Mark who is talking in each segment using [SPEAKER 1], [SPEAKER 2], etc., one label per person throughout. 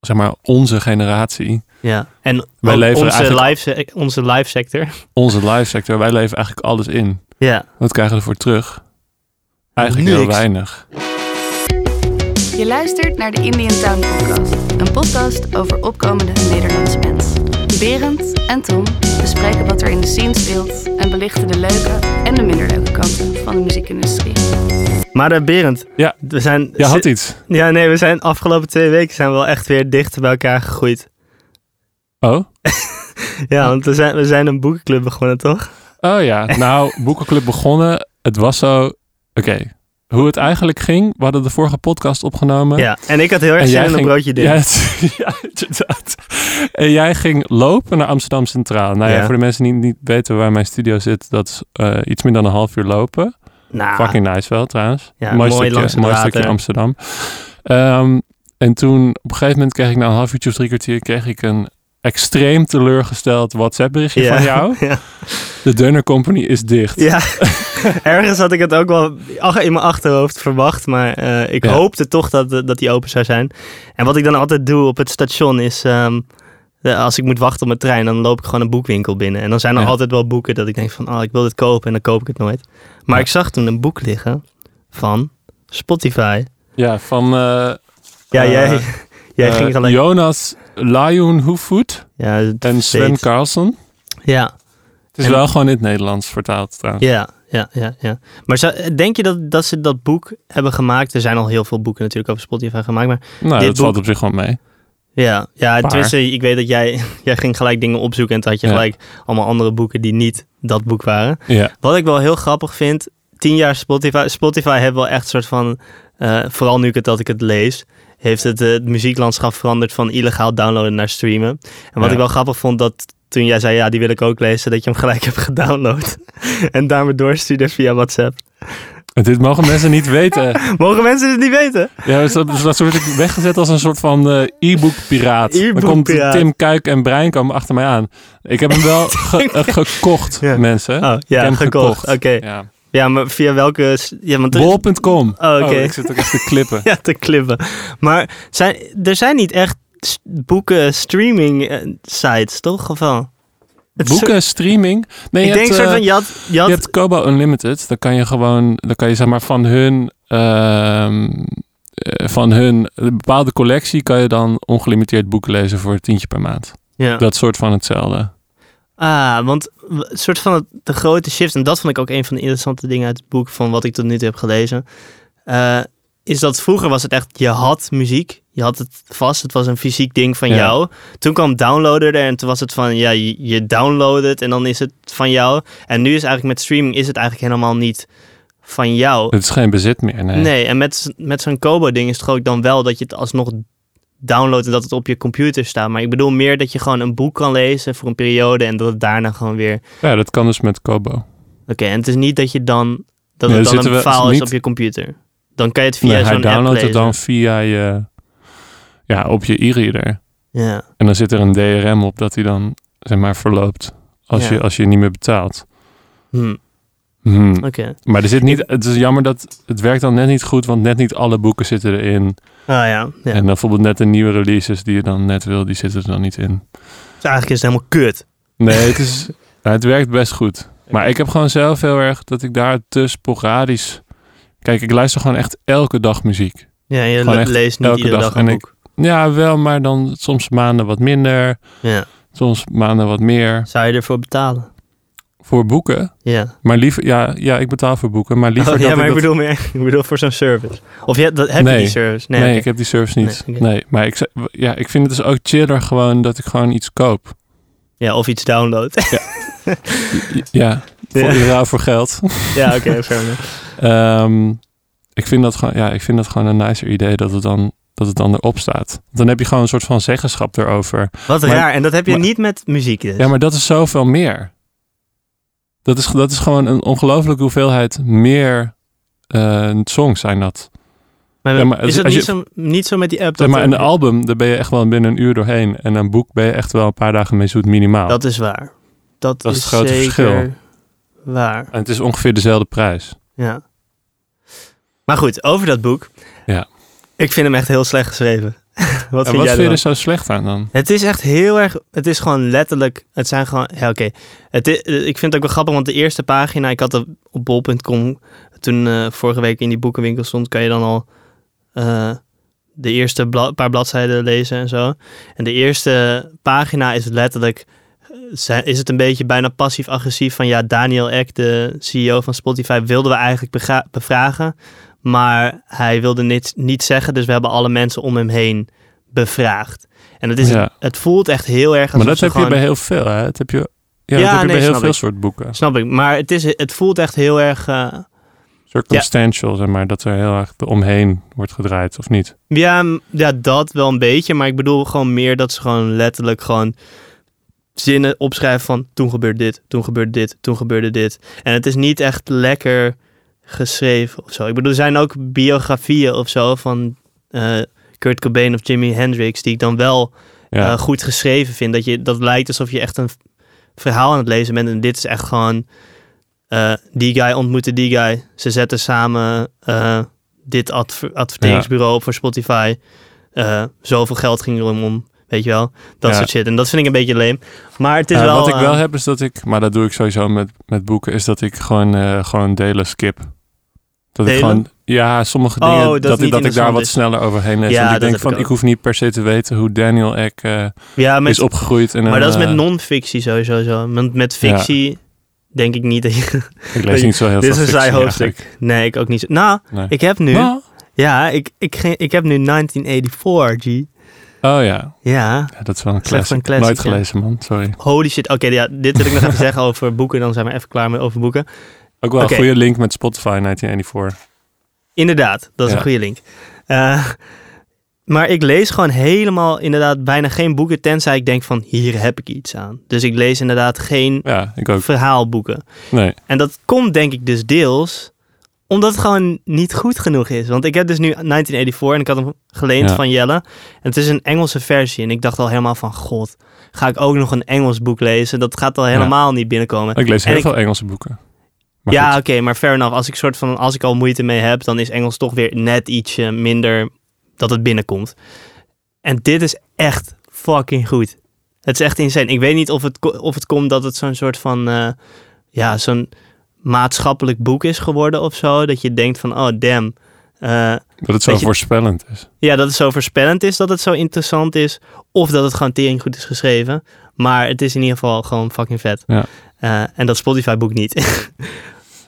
[SPEAKER 1] zeg maar, onze generatie,
[SPEAKER 2] Ja. En
[SPEAKER 1] Wij
[SPEAKER 2] ook
[SPEAKER 1] leveren
[SPEAKER 2] onze,
[SPEAKER 1] eigenlijk-
[SPEAKER 2] live, se- onze live sector.
[SPEAKER 1] onze live sector, wij leveren eigenlijk alles in.
[SPEAKER 2] Ja.
[SPEAKER 1] Wat krijgen we ervoor terug? Eigenlijk heel
[SPEAKER 2] Niks.
[SPEAKER 1] weinig.
[SPEAKER 3] Je luistert naar de Indian Town Podcast. Een podcast over opkomende Nederlandse bands. Berend en Tom bespreken wat er in de scene speelt en belichten de leuke en de minder leuke kanten van de muziekindustrie.
[SPEAKER 2] Maar eh, Berend,
[SPEAKER 1] Ja.
[SPEAKER 2] we zijn...
[SPEAKER 1] Ja, had iets.
[SPEAKER 2] Ja, nee, we zijn afgelopen twee weken zijn we wel echt weer dichter bij elkaar gegroeid.
[SPEAKER 1] Oh?
[SPEAKER 2] Ja, want we zijn, we zijn een boekenclub begonnen, toch?
[SPEAKER 1] Oh ja, nou, boekenclub begonnen. Het was zo, oké. Hoe het eigenlijk ging, we hadden de vorige podcast opgenomen.
[SPEAKER 2] Ja. En ik had heel erg
[SPEAKER 1] En
[SPEAKER 2] zin
[SPEAKER 1] jij
[SPEAKER 2] in een
[SPEAKER 1] ging-
[SPEAKER 2] broodje ding.
[SPEAKER 1] Ja, het- ja, inderdaad. En jij ging lopen naar Amsterdam Centraal. Nou ja,
[SPEAKER 2] Ja.
[SPEAKER 1] voor de mensen die niet weten waar mijn studio zit, dat is eh, iets minder dan een half uur lopen.
[SPEAKER 2] Nou,
[SPEAKER 1] Fucking nice wel trouwens.
[SPEAKER 2] Ja,
[SPEAKER 1] mooi
[SPEAKER 2] mooi
[SPEAKER 1] stukje,
[SPEAKER 2] langs het
[SPEAKER 1] mooi
[SPEAKER 2] water.
[SPEAKER 1] stukje Amsterdam. Ehm, en toen, op een gegeven moment kreeg ik na een half uurtje of drie kwartier, kreeg ik een extreem teleurgesteld WhatsApp berichtje
[SPEAKER 2] Ja.
[SPEAKER 1] van jou.
[SPEAKER 2] Ja.
[SPEAKER 1] De Dunner Company is dicht.
[SPEAKER 2] Ja, ergens had ik het ook wel ach- in mijn achterhoofd verwacht. Maar eh, ik
[SPEAKER 1] Ja.
[SPEAKER 2] hoopte toch dat, eh, dat die open zou zijn. En wat ik dan altijd doe op het station is... ehm, de- als ik moet wachten op mijn trein, dan loop ik gewoon een boekwinkel binnen. En dan zijn er
[SPEAKER 1] Ja.
[SPEAKER 2] altijd wel boeken dat ik denk van... Oh, ik wil dit kopen en dan koop ik het nooit. Maar
[SPEAKER 1] Ja.
[SPEAKER 2] ik zag toen een boek liggen van Spotify.
[SPEAKER 1] Ja, van eh,
[SPEAKER 2] Ja,
[SPEAKER 1] Eh,
[SPEAKER 2] jij, jij
[SPEAKER 1] eh,
[SPEAKER 2] ging alleen...
[SPEAKER 1] Jonas Lionhoefvoet
[SPEAKER 2] ja, het
[SPEAKER 1] en Sven
[SPEAKER 2] steeds.
[SPEAKER 1] Carlson.
[SPEAKER 2] Ja,
[SPEAKER 1] Het is
[SPEAKER 2] En-
[SPEAKER 1] wel gewoon in het Nederlands vertaald trouwens.
[SPEAKER 2] ja, ja, ja. ja. Maar zou- denk je dat, dat ze dat boek hebben gemaakt? Er zijn al heel veel boeken natuurlijk over Spotify gemaakt. Maar
[SPEAKER 1] Nou,
[SPEAKER 2] Dit
[SPEAKER 1] dat valt
[SPEAKER 2] boek-
[SPEAKER 1] op zich wel mee.
[SPEAKER 2] Ja, ja
[SPEAKER 1] Paar.
[SPEAKER 2] tenminste, ik weet dat jij, jij ging gelijk dingen opzoeken en toen had je
[SPEAKER 1] Ja.
[SPEAKER 2] gelijk allemaal andere boeken die niet dat boek waren.
[SPEAKER 1] Ja,
[SPEAKER 2] Wat ik wel heel grappig vind, tien jaar Spotify, Spotify heeft wel echt een soort van, eh, vooral nu ik het, dat ik het lees, heeft het, eh, het muzieklandschap veranderd van illegaal downloaden naar streamen. En wat
[SPEAKER 1] Ja.
[SPEAKER 2] ik wel grappig vond, dat toen jij zei, ja, die wil ik ook lezen, dat je hem gelijk hebt gedownload en daarmee doorstuurde via WhatsApp.
[SPEAKER 1] dit mogen mensen niet weten.
[SPEAKER 2] Mogen mensen dit niet weten?
[SPEAKER 1] Ja, dus dat, dus dat word ik weggezet als een soort van eh, e-book piraat. Dan komt
[SPEAKER 2] E-book-piraat.
[SPEAKER 1] Tim Kuik en Brian komen achter mij aan. Ik heb hem wel ge- eh, gekocht,
[SPEAKER 2] Ja.
[SPEAKER 1] mensen. ik
[SPEAKER 2] Oh,
[SPEAKER 1] heb
[SPEAKER 2] ja,
[SPEAKER 1] hem
[SPEAKER 2] gekocht. Oké.
[SPEAKER 1] Ja.
[SPEAKER 2] Ja, maar via welke... s- Ja, want er-
[SPEAKER 1] Bol.com.
[SPEAKER 2] Oh, oké.
[SPEAKER 1] ik zit ook echt te klippen.
[SPEAKER 2] ja, te klippen. Maar zijn, er zijn niet echt s- boeken streaming eh, sites, toch? Of wel? Het is zo-
[SPEAKER 1] Boeken, streaming. Nee,
[SPEAKER 2] ik
[SPEAKER 1] je
[SPEAKER 2] denk
[SPEAKER 1] hebt,
[SPEAKER 2] soort
[SPEAKER 1] eh,
[SPEAKER 2] van, je had... Je had
[SPEAKER 1] je hebt Kobo Unlimited. Dan kan je gewoon, dan kan je zeg maar van hun, ehm, eh, van hun bepaalde collectie kan je dan ongelimiteerd boeken lezen voor een tientje per maand.
[SPEAKER 2] ja.
[SPEAKER 1] Dat soort van hetzelfde.
[SPEAKER 2] Ah, want w- een soort van het- de grote shift, en dat vond ik ook een van de interessante dingen uit het boek van wat ik tot nu toe heb gelezen, eh, is dat vroeger was het echt, je had muziek, je had het vast, het was een fysiek ding van
[SPEAKER 1] Ja.
[SPEAKER 2] jou. Toen kwam downloader er en toen was het van, ja, je, je downloadt het en dan is het van jou. En nu is eigenlijk met streaming is het eigenlijk helemaal niet van jou.
[SPEAKER 1] Het is geen bezit meer, nee.
[SPEAKER 2] Nee, en met, met zo'n Kobo-ding is het gewoon dan wel dat je het alsnog downloadt en dat het op je computer staat. Maar ik bedoel meer dat je gewoon een boek kan lezen voor een periode en dat het daarna gewoon weer... Oké,
[SPEAKER 1] Ja, dat kan dus met Kobo.
[SPEAKER 2] en het is niet dat je dan... Dat
[SPEAKER 1] Nee,
[SPEAKER 2] het dan
[SPEAKER 1] zitten
[SPEAKER 2] een
[SPEAKER 1] we-
[SPEAKER 2] file is
[SPEAKER 1] niet-
[SPEAKER 2] op je computer. Dan kan je het via
[SPEAKER 1] Nee, hij
[SPEAKER 2] zo'n app
[SPEAKER 1] downloadt
[SPEAKER 2] lezen.
[SPEAKER 1] het dan via je, ja, op je e-reader.
[SPEAKER 2] Ja,
[SPEAKER 1] En dan zit er een DRM op dat hij dan, zeg maar, verloopt. Als,
[SPEAKER 2] Ja.
[SPEAKER 1] je, als je niet meer betaalt.
[SPEAKER 2] Hm,
[SPEAKER 1] Hmm.
[SPEAKER 2] oké.
[SPEAKER 1] Maar er zit niet, het is jammer dat het werkt dan net niet goed, want net niet alle boeken zitten erin.
[SPEAKER 2] Ah ja, ja.
[SPEAKER 1] En dan bijvoorbeeld net de nieuwe releases die je dan net wil, die zitten er dan niet in.
[SPEAKER 2] Dus eigenlijk is het helemaal kut.
[SPEAKER 1] Nee, het, is, nou, het werkt best goed. Maar ik heb gewoon zelf heel erg dat ik daar te sporadisch... Kijk, ik luister gewoon echt elke dag muziek.
[SPEAKER 2] Ja, je
[SPEAKER 1] Gewoon
[SPEAKER 2] le-
[SPEAKER 1] echt
[SPEAKER 2] leest niet
[SPEAKER 1] elke
[SPEAKER 2] iedere dag,
[SPEAKER 1] dag.
[SPEAKER 2] een
[SPEAKER 1] En ik-
[SPEAKER 2] boek.
[SPEAKER 1] Ja, wel, maar dan soms maanden wat minder,
[SPEAKER 2] Ja.
[SPEAKER 1] soms maanden wat meer.
[SPEAKER 2] Zou je ervoor betalen?
[SPEAKER 1] Voor boeken.
[SPEAKER 2] Ja.
[SPEAKER 1] Maar liever, ja, ja ik betaal voor boeken, maar liever
[SPEAKER 2] Oh,
[SPEAKER 1] dat
[SPEAKER 2] ja, maar ik,
[SPEAKER 1] ik dat-
[SPEAKER 2] bedoel meer, ik bedoel voor zo'n service. Of je, dat, heb je
[SPEAKER 1] Nee.
[SPEAKER 2] die service?
[SPEAKER 1] Nee,
[SPEAKER 2] oké.
[SPEAKER 1] ik heb die service niet.
[SPEAKER 2] Nee,
[SPEAKER 1] Nee,
[SPEAKER 2] oké.
[SPEAKER 1] maar ik, zou- ja, ik vind het dus ook chiller gewoon dat ik gewoon iets koop.
[SPEAKER 2] Ja, of iets download.
[SPEAKER 1] Ja, voor
[SPEAKER 2] Ja.
[SPEAKER 1] in ruil voor geld.
[SPEAKER 2] ja, oké, fair enough.
[SPEAKER 1] Ehm, ik, vind dat gewoon, ja, ik vind dat gewoon een nicer idee dat het dan, dat het dan erop staat. Dan heb je gewoon een soort van zeggenschap erover.
[SPEAKER 2] Wat
[SPEAKER 1] Maar-
[SPEAKER 2] raar. En dat heb je
[SPEAKER 1] maar-
[SPEAKER 2] niet met muziek dus.
[SPEAKER 1] Ja, maar dat is zoveel meer. Dat is, dat is gewoon een ongelooflijke hoeveelheid meer eh, songs zijn dat.
[SPEAKER 2] Maar
[SPEAKER 1] ja, maar
[SPEAKER 2] is
[SPEAKER 1] als-
[SPEAKER 2] het
[SPEAKER 1] als
[SPEAKER 2] niet,
[SPEAKER 1] je-
[SPEAKER 2] zo, niet zo met die app?
[SPEAKER 1] Zeg maar,
[SPEAKER 2] er-
[SPEAKER 1] een album, daar ben je echt wel binnen een uur doorheen. En een boek ben je echt wel een paar dagen mee zoet, minimaal.
[SPEAKER 2] Dat is waar. Dat,
[SPEAKER 1] Dat
[SPEAKER 2] is
[SPEAKER 1] is het grote
[SPEAKER 2] zeker
[SPEAKER 1] verschil.
[SPEAKER 2] waar,
[SPEAKER 1] En het is ongeveer dezelfde prijs.
[SPEAKER 2] ja. Maar goed, over dat boek.
[SPEAKER 1] Ja.
[SPEAKER 2] Ik vind hem echt heel slecht geschreven. Wat
[SPEAKER 1] En
[SPEAKER 2] vind
[SPEAKER 1] wat
[SPEAKER 2] jij
[SPEAKER 1] vind je dus-
[SPEAKER 2] ervan?
[SPEAKER 1] er zo slecht aan dan?
[SPEAKER 2] Het is echt heel erg. Het is gewoon letterlijk. Het zijn gewoon. Ja, oké. Het i- eh, Ik vind het ook wel grappig, want de eerste pagina. Ik had dat op bol.com. Toen eh, vorige week in die boekenwinkel stond. Kan je dan al eh, de eerste bla- paar bladzijden lezen en zo. En de eerste pagina is letterlijk. eh, zijn- Is het een beetje bijna passief-agressief van ja, Daniel Eck, de CEO van Spotify, wilden we eigenlijk bega- bevragen. Maar hij wilde niet, niet zeggen, dus we hebben alle mensen om hem heen bevraagd. En het is
[SPEAKER 1] ja.
[SPEAKER 2] het voelt echt heel erg.
[SPEAKER 1] Maar
[SPEAKER 2] alsof
[SPEAKER 1] dat
[SPEAKER 2] ze
[SPEAKER 1] heb je
[SPEAKER 2] gewoon-
[SPEAKER 1] bij heel veel, hè? Dat heb je, ja, dat
[SPEAKER 2] Ja,
[SPEAKER 1] heb je
[SPEAKER 2] nee,
[SPEAKER 1] bij heel
[SPEAKER 2] snap
[SPEAKER 1] veel
[SPEAKER 2] ik.
[SPEAKER 1] soort boeken.
[SPEAKER 2] Snap ik. Maar het, is, het voelt echt heel erg. eh,
[SPEAKER 1] Circumstantial, zeg maar. Dat er heel erg omheen wordt gedraaid, of niet?
[SPEAKER 2] ja, m- ja, dat wel een beetje. Maar ik bedoel gewoon meer dat ze gewoon letterlijk gewoon zinnen opschrijven van toen gebeurde dit, toen gebeurde dit, toen gebeurde dit. En het is niet echt lekker geschreven of zo. Ik bedoel, er zijn ook biografieën of zo van eh, Kurt Cobain of Jimi Hendrix die ik dan wel
[SPEAKER 1] Ja.
[SPEAKER 2] eh, goed geschreven vind. Dat, je, dat lijkt alsof je echt een v- verhaal aan het lezen bent. En dit is echt gewoon... eh, die guy ontmoette die guy. Ze zetten samen eh, dit adver- adverteringsbureau op voor Spotify. Eh, zoveel geld ging er om, om, weet je wel. Dat
[SPEAKER 1] Ja.
[SPEAKER 2] soort shit. En dat vind ik een beetje leem. Maar het is
[SPEAKER 1] Ja,
[SPEAKER 2] wel...
[SPEAKER 1] wat ik
[SPEAKER 2] eh,
[SPEAKER 1] wel heb is dat ik, maar dat doe ik sowieso met, met boeken, is dat ik gewoon, eh, gewoon delen skip. Dat ik
[SPEAKER 2] Delen?
[SPEAKER 1] gewoon, ja, sommige
[SPEAKER 2] Oh,
[SPEAKER 1] dingen,
[SPEAKER 2] dat het
[SPEAKER 1] dat, ik,
[SPEAKER 2] niet
[SPEAKER 1] dat ik daar
[SPEAKER 2] interessant
[SPEAKER 1] wat
[SPEAKER 2] is.
[SPEAKER 1] sneller overheen lees.
[SPEAKER 2] Ja,
[SPEAKER 1] Want ik
[SPEAKER 2] dat
[SPEAKER 1] denk
[SPEAKER 2] heb
[SPEAKER 1] van,
[SPEAKER 2] ik
[SPEAKER 1] ik,
[SPEAKER 2] ook.
[SPEAKER 1] hoef niet per se te weten hoe Daniel Eck eh,
[SPEAKER 2] ja, met,
[SPEAKER 1] is opgegroeid. En,
[SPEAKER 2] maar dat is met
[SPEAKER 1] eh,
[SPEAKER 2] non-fictie sowieso zo. Want met
[SPEAKER 1] Ja.
[SPEAKER 2] fictie denk ik niet dat je...
[SPEAKER 1] Ik lees niet zo heel
[SPEAKER 2] Dit is
[SPEAKER 1] veel
[SPEAKER 2] een saai
[SPEAKER 1] fictie
[SPEAKER 2] hoofdstuk.
[SPEAKER 1] eigenlijk.
[SPEAKER 2] Nee, ik ook niet zo. Nou,
[SPEAKER 1] Nee.
[SPEAKER 2] ik heb nu...
[SPEAKER 1] Nou,
[SPEAKER 2] Ja, ik, ik, ging- ik heb nu 1984, G.
[SPEAKER 1] oh ja.
[SPEAKER 2] Ja.
[SPEAKER 1] Ja, dat is wel een
[SPEAKER 2] Slechts
[SPEAKER 1] classic.
[SPEAKER 2] een classic,
[SPEAKER 1] Nooit
[SPEAKER 2] ja.
[SPEAKER 1] gelezen, man. Sorry.
[SPEAKER 2] Holy shit. Oké, ja, dit wil ik nog even zeggen over boeken. Dan zijn we even klaar met over boeken.
[SPEAKER 1] Ook wel
[SPEAKER 2] Oké.
[SPEAKER 1] een goede link met Spotify 1984.
[SPEAKER 2] Inderdaad, dat is
[SPEAKER 1] Ja.
[SPEAKER 2] een goede link. Eh, maar ik lees gewoon helemaal inderdaad bijna geen boeken, tenzij ik denk van hier heb ik iets aan. Dus ik lees inderdaad geen
[SPEAKER 1] Ja, ik ook.
[SPEAKER 2] verhaalboeken.
[SPEAKER 1] Nee.
[SPEAKER 2] En dat komt denk ik dus deels omdat het gewoon niet goed genoeg is. Want ik heb dus nu 1984 en ik had hem geleend
[SPEAKER 1] Ja.
[SPEAKER 2] van Jelle. En het is een Engelse versie. En ik dacht al helemaal van, god, ga ik ook nog een Engels boek lezen? Dat gaat al helemaal niet binnenkomen.
[SPEAKER 1] Ik lees
[SPEAKER 2] En
[SPEAKER 1] heel
[SPEAKER 2] ik-
[SPEAKER 1] veel Engelse boeken. Maar
[SPEAKER 2] ja,
[SPEAKER 1] goed.
[SPEAKER 2] oké, maar fair enough. Als ik, soort van, als ik al moeite mee heb, dan is Engels toch weer net ietsje minder dat het binnenkomt. En dit is echt fucking goed. Het is echt insane. Ik weet niet of het, ko- of het komt dat het zo'n soort van, eh, ja, zo'n maatschappelijk boek is geworden of zo. Dat je denkt van, oh damn. eh,
[SPEAKER 1] dat het zo
[SPEAKER 2] weet je-
[SPEAKER 1] voorspellend is.
[SPEAKER 2] ja, dat het zo voorspellend is, dat het zo interessant is. Of dat het gewoon tering goed is geschreven. Maar het is in ieder geval gewoon fucking vet.
[SPEAKER 1] Ja.
[SPEAKER 2] Eh, en dat Spotify boek niet.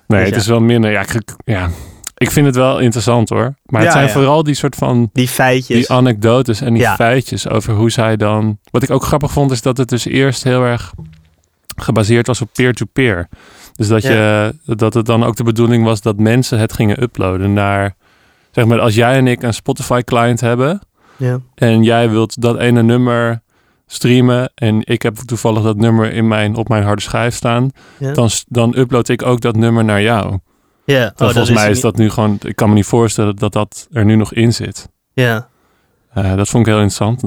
[SPEAKER 1] Nee,
[SPEAKER 2] Dus
[SPEAKER 1] het
[SPEAKER 2] ja.
[SPEAKER 1] is wel minder. Ja ik, ja, ik vind het wel interessant hoor. Maar het
[SPEAKER 2] Ja,
[SPEAKER 1] zijn
[SPEAKER 2] ja.
[SPEAKER 1] vooral die soort van
[SPEAKER 2] Die feitjes.
[SPEAKER 1] die anekdotes en die
[SPEAKER 2] Ja.
[SPEAKER 1] feitjes over hoe zij dan. Wat ik ook grappig vond, is dat het dus eerst heel erg gebaseerd was op peer-to-peer. Dus dat,
[SPEAKER 2] Ja.
[SPEAKER 1] je, dat het dan ook de bedoeling was dat mensen het gingen uploaden naar. Zeg maar, als jij en ik een Spotify-client hebben
[SPEAKER 2] ja.
[SPEAKER 1] en jij wilt dat ene nummer streamen en ik heb toevallig dat nummer in mijn, op mijn harde schijf staan,
[SPEAKER 2] Ja.
[SPEAKER 1] dan, s- dan upload ik ook dat nummer naar jou.
[SPEAKER 2] Ja, oh,
[SPEAKER 1] Dan volgens mij
[SPEAKER 2] het
[SPEAKER 1] is dat nu gewoon, ik kan me niet voorstellen dat dat er nu nog in zit.
[SPEAKER 2] niet. Ja.
[SPEAKER 1] Eh, dat vond ik heel interessant.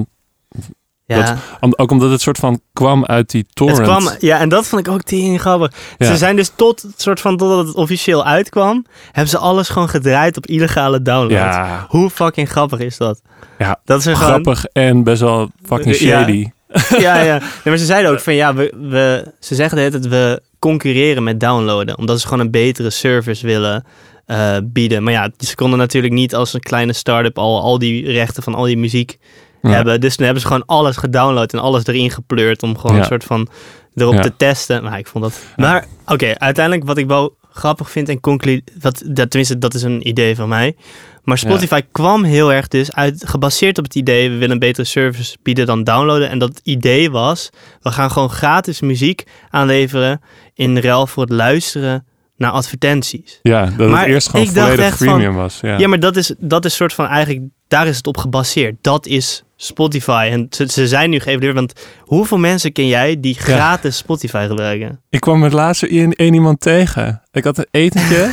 [SPEAKER 2] ja.
[SPEAKER 1] Om- ook omdat het soort van kwam uit die torrent.
[SPEAKER 2] het kwam, ja, en dat vond ik ook tering grappig.
[SPEAKER 1] Ja.
[SPEAKER 2] Ze zijn dus tot, het soort van, totdat het officieel uitkwam, hebben ze alles gewoon gedraaid op illegale downloads.
[SPEAKER 1] ja,
[SPEAKER 2] Hoe fucking grappig is dat?
[SPEAKER 1] Ja,
[SPEAKER 2] dat is er gewoon,
[SPEAKER 1] grappig en best wel fucking
[SPEAKER 2] Ja.
[SPEAKER 1] shady.
[SPEAKER 2] Ja, ja. Nee, maar ze zeiden ook van ja, we, we, ze zeggen de hele tijd we concurreren met downloaden. Omdat ze gewoon een betere service willen eh, bieden. Maar ja, ze konden natuurlijk niet als een kleine start-up al, al die rechten van al die muziek
[SPEAKER 1] Ja.
[SPEAKER 2] hebben. Dus toen hebben ze gewoon alles gedownload en alles erin gepleurd om gewoon
[SPEAKER 1] Ja.
[SPEAKER 2] een soort van erop
[SPEAKER 1] Ja.
[SPEAKER 2] te testen. Maar ik vond dat... Maar oké, uiteindelijk wat ik wel grappig vind en conclude... Wat, dat, tenminste, dat is een idee van mij. Maar Spotify kwam heel erg dus uit, gebaseerd op het idee... we willen een betere service bieden dan downloaden. En dat idee was, we gaan gewoon gratis muziek aanleveren... in ruil voor het luisteren naar advertenties.
[SPEAKER 1] Ja, dat
[SPEAKER 2] Maar
[SPEAKER 1] het eerst gewoon
[SPEAKER 2] ik dacht
[SPEAKER 1] volledig
[SPEAKER 2] echt van-
[SPEAKER 1] premium was. Ja.
[SPEAKER 2] Ja, maar dat is, dat is soort van eigenlijk... daar is het op gebaseerd. Dat is Spotify. En ze, ze zijn nu geëvalueerd, want hoeveel mensen ken jij... die gratis Spotify gebruiken?
[SPEAKER 1] Ik kwam het laatste in één iemand tegen. Ik had een etentje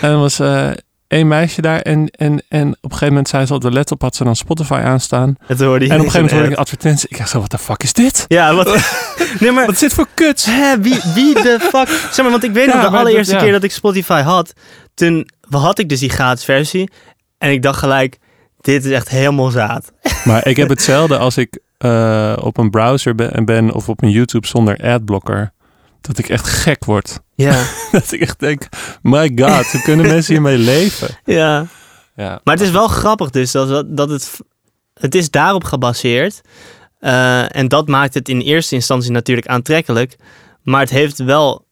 [SPEAKER 1] en er was eh, één meisje daar. En, en, en op een gegeven moment zei ze op de laptop had ze dan Spotify aanstaan.
[SPEAKER 2] Het hoorde je
[SPEAKER 1] en op een gegeven
[SPEAKER 2] niet
[SPEAKER 1] moment
[SPEAKER 2] zo
[SPEAKER 1] hoorde ik
[SPEAKER 2] net.
[SPEAKER 1] een advertentie. Ik dacht zo, wat de fuck is dit?
[SPEAKER 2] Ja, wat... nee, maar...
[SPEAKER 1] Wat zit voor kuts?
[SPEAKER 2] Hè, wie, wie de fuck... Zeg maar, want ik weet
[SPEAKER 1] Ja,
[SPEAKER 2] nog
[SPEAKER 1] maar
[SPEAKER 2] de
[SPEAKER 1] dat-
[SPEAKER 2] allereerste
[SPEAKER 1] ja.
[SPEAKER 2] keer dat ik Spotify had... Toen had ik dus die gratis versie. En ik dacht gelijk... dit is echt helemaal zaad.
[SPEAKER 1] Maar ik heb hetzelfde als ik eh, op een browser ben, ben of op een YouTube zonder adblocker. Dat ik echt gek word.
[SPEAKER 2] Ja,
[SPEAKER 1] Dat ik echt denk, my god, hoe kunnen mensen hiermee leven?
[SPEAKER 2] ja.
[SPEAKER 1] Ja,
[SPEAKER 2] Maar het is wel grappig dus dat, dat- dat het, het is daarop gebaseerd. Eh en dat maakt het in eerste instantie natuurlijk aantrekkelijk. Maar het heeft wel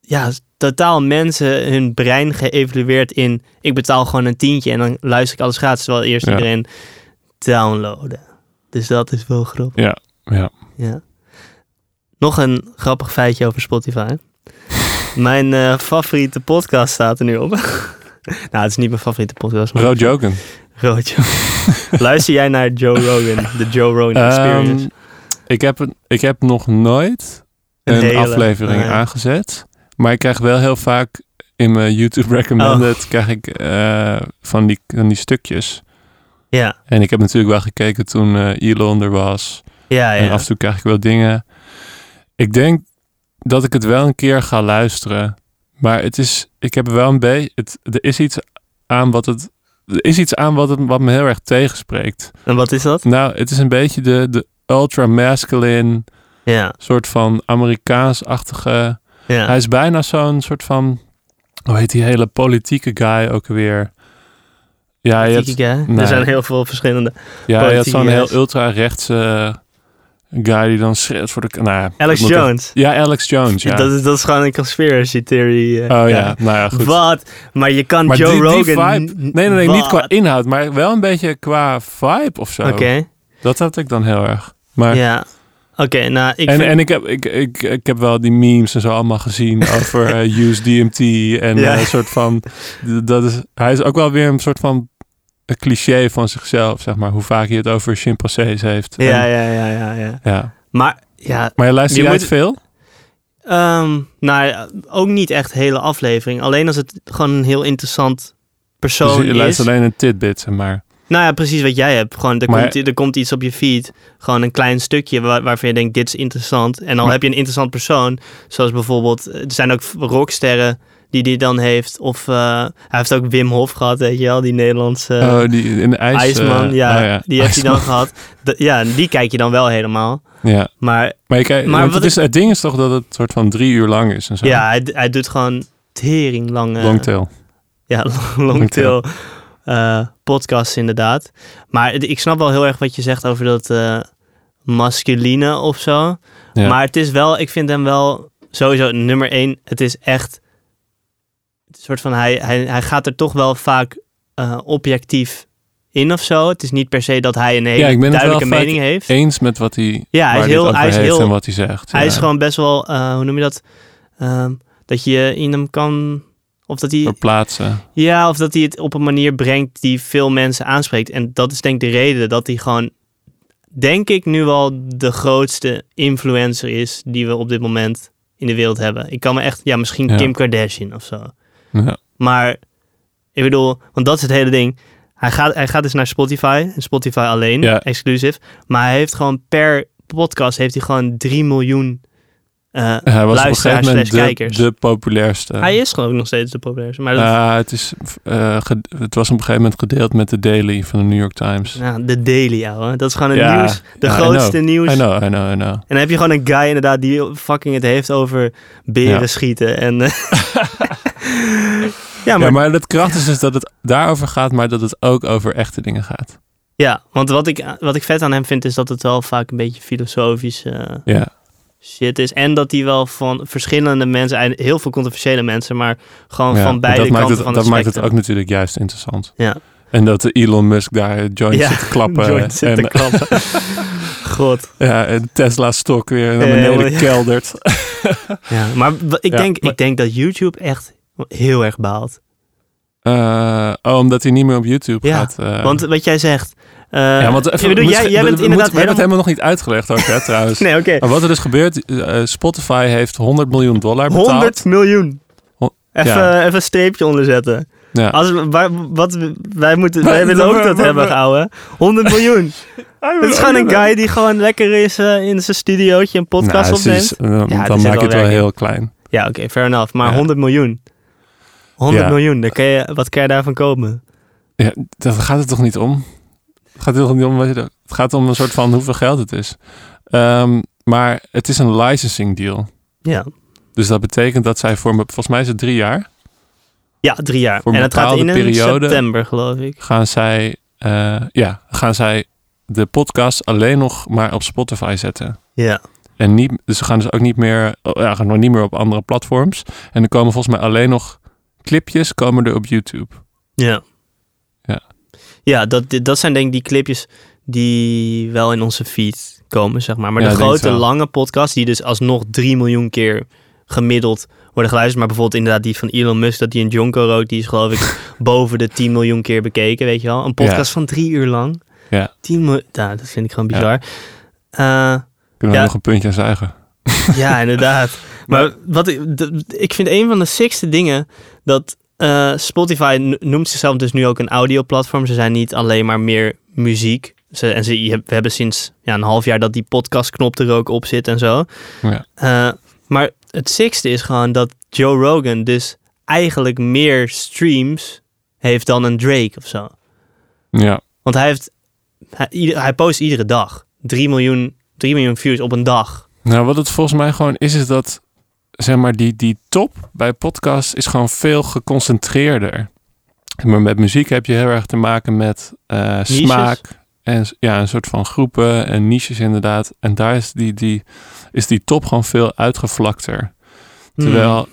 [SPEAKER 2] ja, totaal mensen hun brein geëvalueerd in... ik betaal gewoon een tientje en dan luister ik alles gratis... terwijl eerst
[SPEAKER 1] Ja.
[SPEAKER 2] iedereen downloaden. Dus dat is wel grappig.
[SPEAKER 1] ja, ja.
[SPEAKER 2] Ja. Nog een grappig feitje over Spotify. mijn eh, favoriete podcast staat er nu op. nou, het is niet mijn favoriete podcast. maar-
[SPEAKER 1] Rood joken.
[SPEAKER 2] Rood Joe. Luister jij naar Joe Rogan, de Joe Rogan Experience?
[SPEAKER 1] Ehm, ik, heb, een- ik heb nog nooit
[SPEAKER 2] Een
[SPEAKER 1] een,
[SPEAKER 2] hele.
[SPEAKER 1] aflevering
[SPEAKER 2] Nee.
[SPEAKER 1] aangezet. Maar ik krijg wel heel vaak in mijn YouTube recommended
[SPEAKER 2] Oh.
[SPEAKER 1] krijg ik, eh, van, die, van die stukjes.
[SPEAKER 2] Ja,
[SPEAKER 1] En ik heb natuurlijk wel gekeken toen eh, Elon er was.
[SPEAKER 2] ja,
[SPEAKER 1] En
[SPEAKER 2] ja.
[SPEAKER 1] af en toe krijg ik wel dingen. Ik denk dat ik het wel een keer ga luisteren. Maar het is, ik heb wel een beetje, het- er is iets aan wat het, er is iets aan wat, het, wat me heel erg tegenspreekt.
[SPEAKER 2] En wat is dat?
[SPEAKER 1] Nou, het is een beetje de, de ultra-masculine
[SPEAKER 2] Ja,
[SPEAKER 1] soort van Amerikaans-achtige. Hij
[SPEAKER 2] ja.
[SPEAKER 1] is bijna zo'n soort van. Hoe heet die hele politieke guy ook weer? Ja, je hebt,
[SPEAKER 2] Politieke guy.
[SPEAKER 1] nee.
[SPEAKER 2] Er zijn heel veel verschillende.
[SPEAKER 1] ja, je hebt
[SPEAKER 2] politieke
[SPEAKER 1] zo'n heel
[SPEAKER 2] guys.
[SPEAKER 1] ultra-rechtse guy die dan schreeuwt voor de. k- Nou, ik
[SPEAKER 2] Alex
[SPEAKER 1] moet even-
[SPEAKER 2] Jones.
[SPEAKER 1] ja, Alex Jones. Ja.
[SPEAKER 2] Dat, is, dat is gewoon een conspiracy theory. eh,
[SPEAKER 1] oh ja.
[SPEAKER 2] guy.
[SPEAKER 1] nou ja, goed.
[SPEAKER 2] Wat? Maar je kan
[SPEAKER 1] maar
[SPEAKER 2] Joe
[SPEAKER 1] die,
[SPEAKER 2] Rogan...
[SPEAKER 1] die vibe.
[SPEAKER 2] n-
[SPEAKER 1] Nee, nee, nee, niet qua
[SPEAKER 2] wat?
[SPEAKER 1] inhoud, maar wel een beetje qua vibe of zo.
[SPEAKER 2] Oké,
[SPEAKER 1] Dat had ik dan heel erg. Maar
[SPEAKER 2] ja. Oké, nou, ik
[SPEAKER 1] Ah. en,
[SPEAKER 2] vind...
[SPEAKER 1] en ik, heb, ik, ik, ik heb wel die memes en zo allemaal gezien over eh, use DMT. En
[SPEAKER 2] Ja.
[SPEAKER 1] eh, een soort van. d- Dat is, hij is ook wel weer een soort van een cliché van zichzelf, zeg maar. Hoe vaak hij het over chimpansees heeft. En-
[SPEAKER 2] ja, ja, ja, ja, ja.
[SPEAKER 1] ja.
[SPEAKER 2] Maar, ja,
[SPEAKER 1] Maar je luistert
[SPEAKER 2] Je
[SPEAKER 1] jij
[SPEAKER 2] moet-
[SPEAKER 1] het veel?
[SPEAKER 2] Ehm, nou, ja, ook niet echt hele aflevering. Alleen als het gewoon een heel interessant
[SPEAKER 1] Dus
[SPEAKER 2] persoon
[SPEAKER 1] je
[SPEAKER 2] is.
[SPEAKER 1] luistert alleen een tidbit, zeg maar.
[SPEAKER 2] Nou ja, precies wat jij hebt. Gewoon, er,
[SPEAKER 1] Maar-
[SPEAKER 2] komt, er komt iets op je feed. Gewoon een klein stukje waar- waarvan je denkt, dit is interessant. En dan
[SPEAKER 1] Maar-
[SPEAKER 2] heb je een interessant persoon. Zoals bijvoorbeeld, eh, er zijn ook rocksterren die die dan heeft. Of eh, hij heeft ook Wim Hof gehad, weet je wel. Die Nederlandse
[SPEAKER 1] oh, die in de ijs.
[SPEAKER 2] Eh, ijsman.
[SPEAKER 1] eh,
[SPEAKER 2] ja,
[SPEAKER 1] oh
[SPEAKER 2] die heeft hij dan
[SPEAKER 1] ijsman.
[SPEAKER 2] gehad. D- ja, die kijk je dan wel helemaal.
[SPEAKER 1] Ja.
[SPEAKER 2] Maar
[SPEAKER 1] Maar, je kijkt-
[SPEAKER 2] Maar
[SPEAKER 1] want
[SPEAKER 2] wat
[SPEAKER 1] het,
[SPEAKER 2] ik-
[SPEAKER 1] is, het ding is toch dat het soort van drie uur lang is en zo.
[SPEAKER 2] ja, hij, hij doet gewoon tering lange...
[SPEAKER 1] Longtail.
[SPEAKER 2] Ja, longtail eh podcast inderdaad. Maar het- ik snap wel heel erg wat je zegt over dat eh, masculine of zo.
[SPEAKER 1] Ja.
[SPEAKER 2] Maar het is wel, ik vind hem wel sowieso nummer één. Het is echt een soort van, hij, hij, hij gaat er toch wel vaak eh, objectief in of zo. Het is niet per se dat hij een hele
[SPEAKER 1] Ja, ik ben het wel
[SPEAKER 2] duidelijke
[SPEAKER 1] vaak
[SPEAKER 2] mening heeft.
[SPEAKER 1] Eens met wat hij.
[SPEAKER 2] Ja, hij
[SPEAKER 1] waar
[SPEAKER 2] is
[SPEAKER 1] het
[SPEAKER 2] heel-
[SPEAKER 1] over
[SPEAKER 2] hij is
[SPEAKER 1] heeft
[SPEAKER 2] heel-
[SPEAKER 1] en wat hij zegt.
[SPEAKER 2] Hij
[SPEAKER 1] ja.
[SPEAKER 2] is gewoon best wel, eh, hoe noem je dat? Ehm, dat je in hem kan, of dat hij
[SPEAKER 1] Verplaatsen.
[SPEAKER 2] Ja, of dat hij het op een manier brengt die veel mensen aanspreekt. En dat is denk ik de reden dat hij gewoon, denk ik, nu al de grootste influencer is die we op dit moment in de wereld hebben. Ik kan me echt, ja, misschien
[SPEAKER 1] Ja.
[SPEAKER 2] Kim Kardashian of zo.
[SPEAKER 1] Ja.
[SPEAKER 2] Maar ik bedoel, want dat is het hele ding. Hij gaat, hij gaat dus naar Spotify, en Spotify alleen,
[SPEAKER 1] Ja.
[SPEAKER 2] exclusief. Maar hij heeft gewoon per podcast heeft hij gewoon 3 miljoen eh,
[SPEAKER 1] Hij was op een gegeven
[SPEAKER 2] luisteraars slash
[SPEAKER 1] moment de,
[SPEAKER 2] kijkers.
[SPEAKER 1] de populairste.
[SPEAKER 2] Hij is gewoon nog steeds de populairste. Maar dat,
[SPEAKER 1] Ah, het, is, eh, ge- het was op een gegeven moment gedeeld met de Daily van de New York Times.
[SPEAKER 2] Nou, de Daily, ouwe. Dat is gewoon het
[SPEAKER 1] Ja,
[SPEAKER 2] nieuws. De
[SPEAKER 1] ja, I
[SPEAKER 2] grootste nieuws.
[SPEAKER 1] I know, I know, I know.
[SPEAKER 2] En dan heb je gewoon een guy inderdaad die fucking het heeft over beren
[SPEAKER 1] Ja.
[SPEAKER 2] schieten. En, eh, ja, maar,
[SPEAKER 1] Ja,
[SPEAKER 2] ja,
[SPEAKER 1] maar het kracht is dus dat het daarover gaat, maar dat het ook over echte dingen gaat.
[SPEAKER 2] want wat ik, wat ik vet aan hem vind is dat het wel vaak een beetje filosofisch eh,
[SPEAKER 1] Ja,
[SPEAKER 2] shit is. En dat hij wel van verschillende mensen, en heel veel controversiële mensen, maar gewoon
[SPEAKER 1] ja.
[SPEAKER 2] van
[SPEAKER 1] Maar
[SPEAKER 2] beide
[SPEAKER 1] dat
[SPEAKER 2] kanten
[SPEAKER 1] maakt het,
[SPEAKER 2] van
[SPEAKER 1] Dat
[SPEAKER 2] het
[SPEAKER 1] maakt het
[SPEAKER 2] spectrum.
[SPEAKER 1] ook natuurlijk juist interessant.
[SPEAKER 2] Ja.
[SPEAKER 1] En dat de Elon Musk daar joint zit te klappen.
[SPEAKER 2] joint zit
[SPEAKER 1] en,
[SPEAKER 2] te klappen. God.
[SPEAKER 1] ja, en Tesla stok weer naar
[SPEAKER 2] Ja,
[SPEAKER 1] beneden
[SPEAKER 2] helemaal, ja.
[SPEAKER 1] keldert.
[SPEAKER 2] Ja, maar w- ik,
[SPEAKER 1] Ja,
[SPEAKER 2] denk,
[SPEAKER 1] maar-
[SPEAKER 2] ik denk dat YouTube echt heel erg baalt.
[SPEAKER 1] Eh, oh, omdat hij niet meer op YouTube
[SPEAKER 2] Ja,
[SPEAKER 1] gaat. eh.
[SPEAKER 2] Want wat jij zegt. eh,
[SPEAKER 1] ja, want
[SPEAKER 2] ik bedoel, jij,
[SPEAKER 1] misschien-
[SPEAKER 2] jij
[SPEAKER 1] we-
[SPEAKER 2] bent
[SPEAKER 1] we moeten-
[SPEAKER 2] inderdaad
[SPEAKER 1] We hebben het
[SPEAKER 2] helemaal...
[SPEAKER 1] helemaal nog niet uitgelegd ook, hè, trouwens.
[SPEAKER 2] Nee, oké.
[SPEAKER 1] Maar wat er dus gebeurt, eh, Spotify heeft 100 miljoen dollar betaald.
[SPEAKER 2] 100 miljoen.
[SPEAKER 1] Hon-
[SPEAKER 2] Even,
[SPEAKER 1] ja.
[SPEAKER 2] even een streepje onderzetten.
[SPEAKER 1] Ja.
[SPEAKER 2] Als, we- waar, wat, we- wij, moeten,
[SPEAKER 1] Wij-
[SPEAKER 2] wij willen ook
[SPEAKER 1] wij-
[SPEAKER 2] dat
[SPEAKER 1] wij-
[SPEAKER 2] hebben,
[SPEAKER 1] wij-
[SPEAKER 2] ouwe. 100 miljoen. Het Ah, is gewoon een guy die gewoon lekker is eh, in zijn studiootje een podcast
[SPEAKER 1] Nou,
[SPEAKER 2] opneemt.
[SPEAKER 1] precies. Dan,
[SPEAKER 2] Ja, er
[SPEAKER 1] dan
[SPEAKER 2] zit
[SPEAKER 1] maak
[SPEAKER 2] wel
[SPEAKER 1] je het wel
[SPEAKER 2] werk in.
[SPEAKER 1] heel klein.
[SPEAKER 2] Ja, oké, fair enough. Maar
[SPEAKER 1] Ja.
[SPEAKER 2] 100 miljoen. 100
[SPEAKER 1] Ja.
[SPEAKER 2] miljoen, dan kan je, wat kan je daarvan kopen?
[SPEAKER 1] Ja, daar gaat het toch niet om? Het gaat heel niet om wat je doet. Het gaat om een soort van hoeveel geld het is. Ehm, maar het is een licensing deal.
[SPEAKER 2] Ja.
[SPEAKER 1] Dus dat betekent dat zij voor, me- volgens mij is het drie jaar,
[SPEAKER 2] Ja, drie jaar.
[SPEAKER 1] Voor een
[SPEAKER 2] en dat gaat in
[SPEAKER 1] bepaalde
[SPEAKER 2] een
[SPEAKER 1] periode.
[SPEAKER 2] september, geloof ik.
[SPEAKER 1] gaan zij, eh, ja, gaan zij de podcast alleen nog maar op Spotify zetten.
[SPEAKER 2] Ja.
[SPEAKER 1] En niet, dus ze gaan dus ook niet meer, oh, ja, gaan nog niet meer op andere platforms. En er komen volgens mij alleen nog clipjes komen er op YouTube.
[SPEAKER 2] Ja.
[SPEAKER 1] Ja.
[SPEAKER 2] Ja, dat, dat zijn denk ik die clipjes die wel in onze feed komen, zeg maar. Maar
[SPEAKER 1] Ja,
[SPEAKER 2] de
[SPEAKER 1] ik denk het
[SPEAKER 2] grote,
[SPEAKER 1] wel.
[SPEAKER 2] lange podcast, die dus alsnog 3 miljoen keer gemiddeld worden geluisterd. Maar bijvoorbeeld inderdaad die van Elon Musk, dat die een Jonko rook, die is geloof ik boven de 10 miljoen keer bekeken, weet je wel. Een podcast van drie uur lang.
[SPEAKER 1] Ja.
[SPEAKER 2] 10 miljoen, nou, dat vind ik gewoon
[SPEAKER 1] Ja.
[SPEAKER 2] bizar. Eh, Ja,
[SPEAKER 1] Kunnen we
[SPEAKER 2] Ja.
[SPEAKER 1] nog een puntje aan zuigen?
[SPEAKER 2] ja inderdaad. Maar wat ik, d- ik vind een van de sixte dingen dat eh, Spotify n- noemt zichzelf dus nu ook een audioplatform. Ze zijn niet alleen maar meer muziek. Ze, en ze, je hebt- we hebben sinds ja, een half jaar dat die podcastknop er ook op zit en zo.
[SPEAKER 1] Ja.
[SPEAKER 2] Eh, maar het sixte is gewoon dat Joe Rogan dus eigenlijk meer streams heeft dan een Drake of zo.
[SPEAKER 1] Ja,
[SPEAKER 2] Want hij heeft, hij, ieder- hij post iedere dag 3 miljoen, 3 miljoen views op een dag.
[SPEAKER 1] nou wat het volgens mij gewoon is, is dat zeg maar die, die top bij podcast is gewoon veel geconcentreerder. Maar met muziek heb je heel erg te maken met eh, smaak en s- ja, een soort van groepen en niches inderdaad. En daar is die, die, is die top gewoon veel uitgevlakter.
[SPEAKER 2] Hmm.
[SPEAKER 1] Terwijl,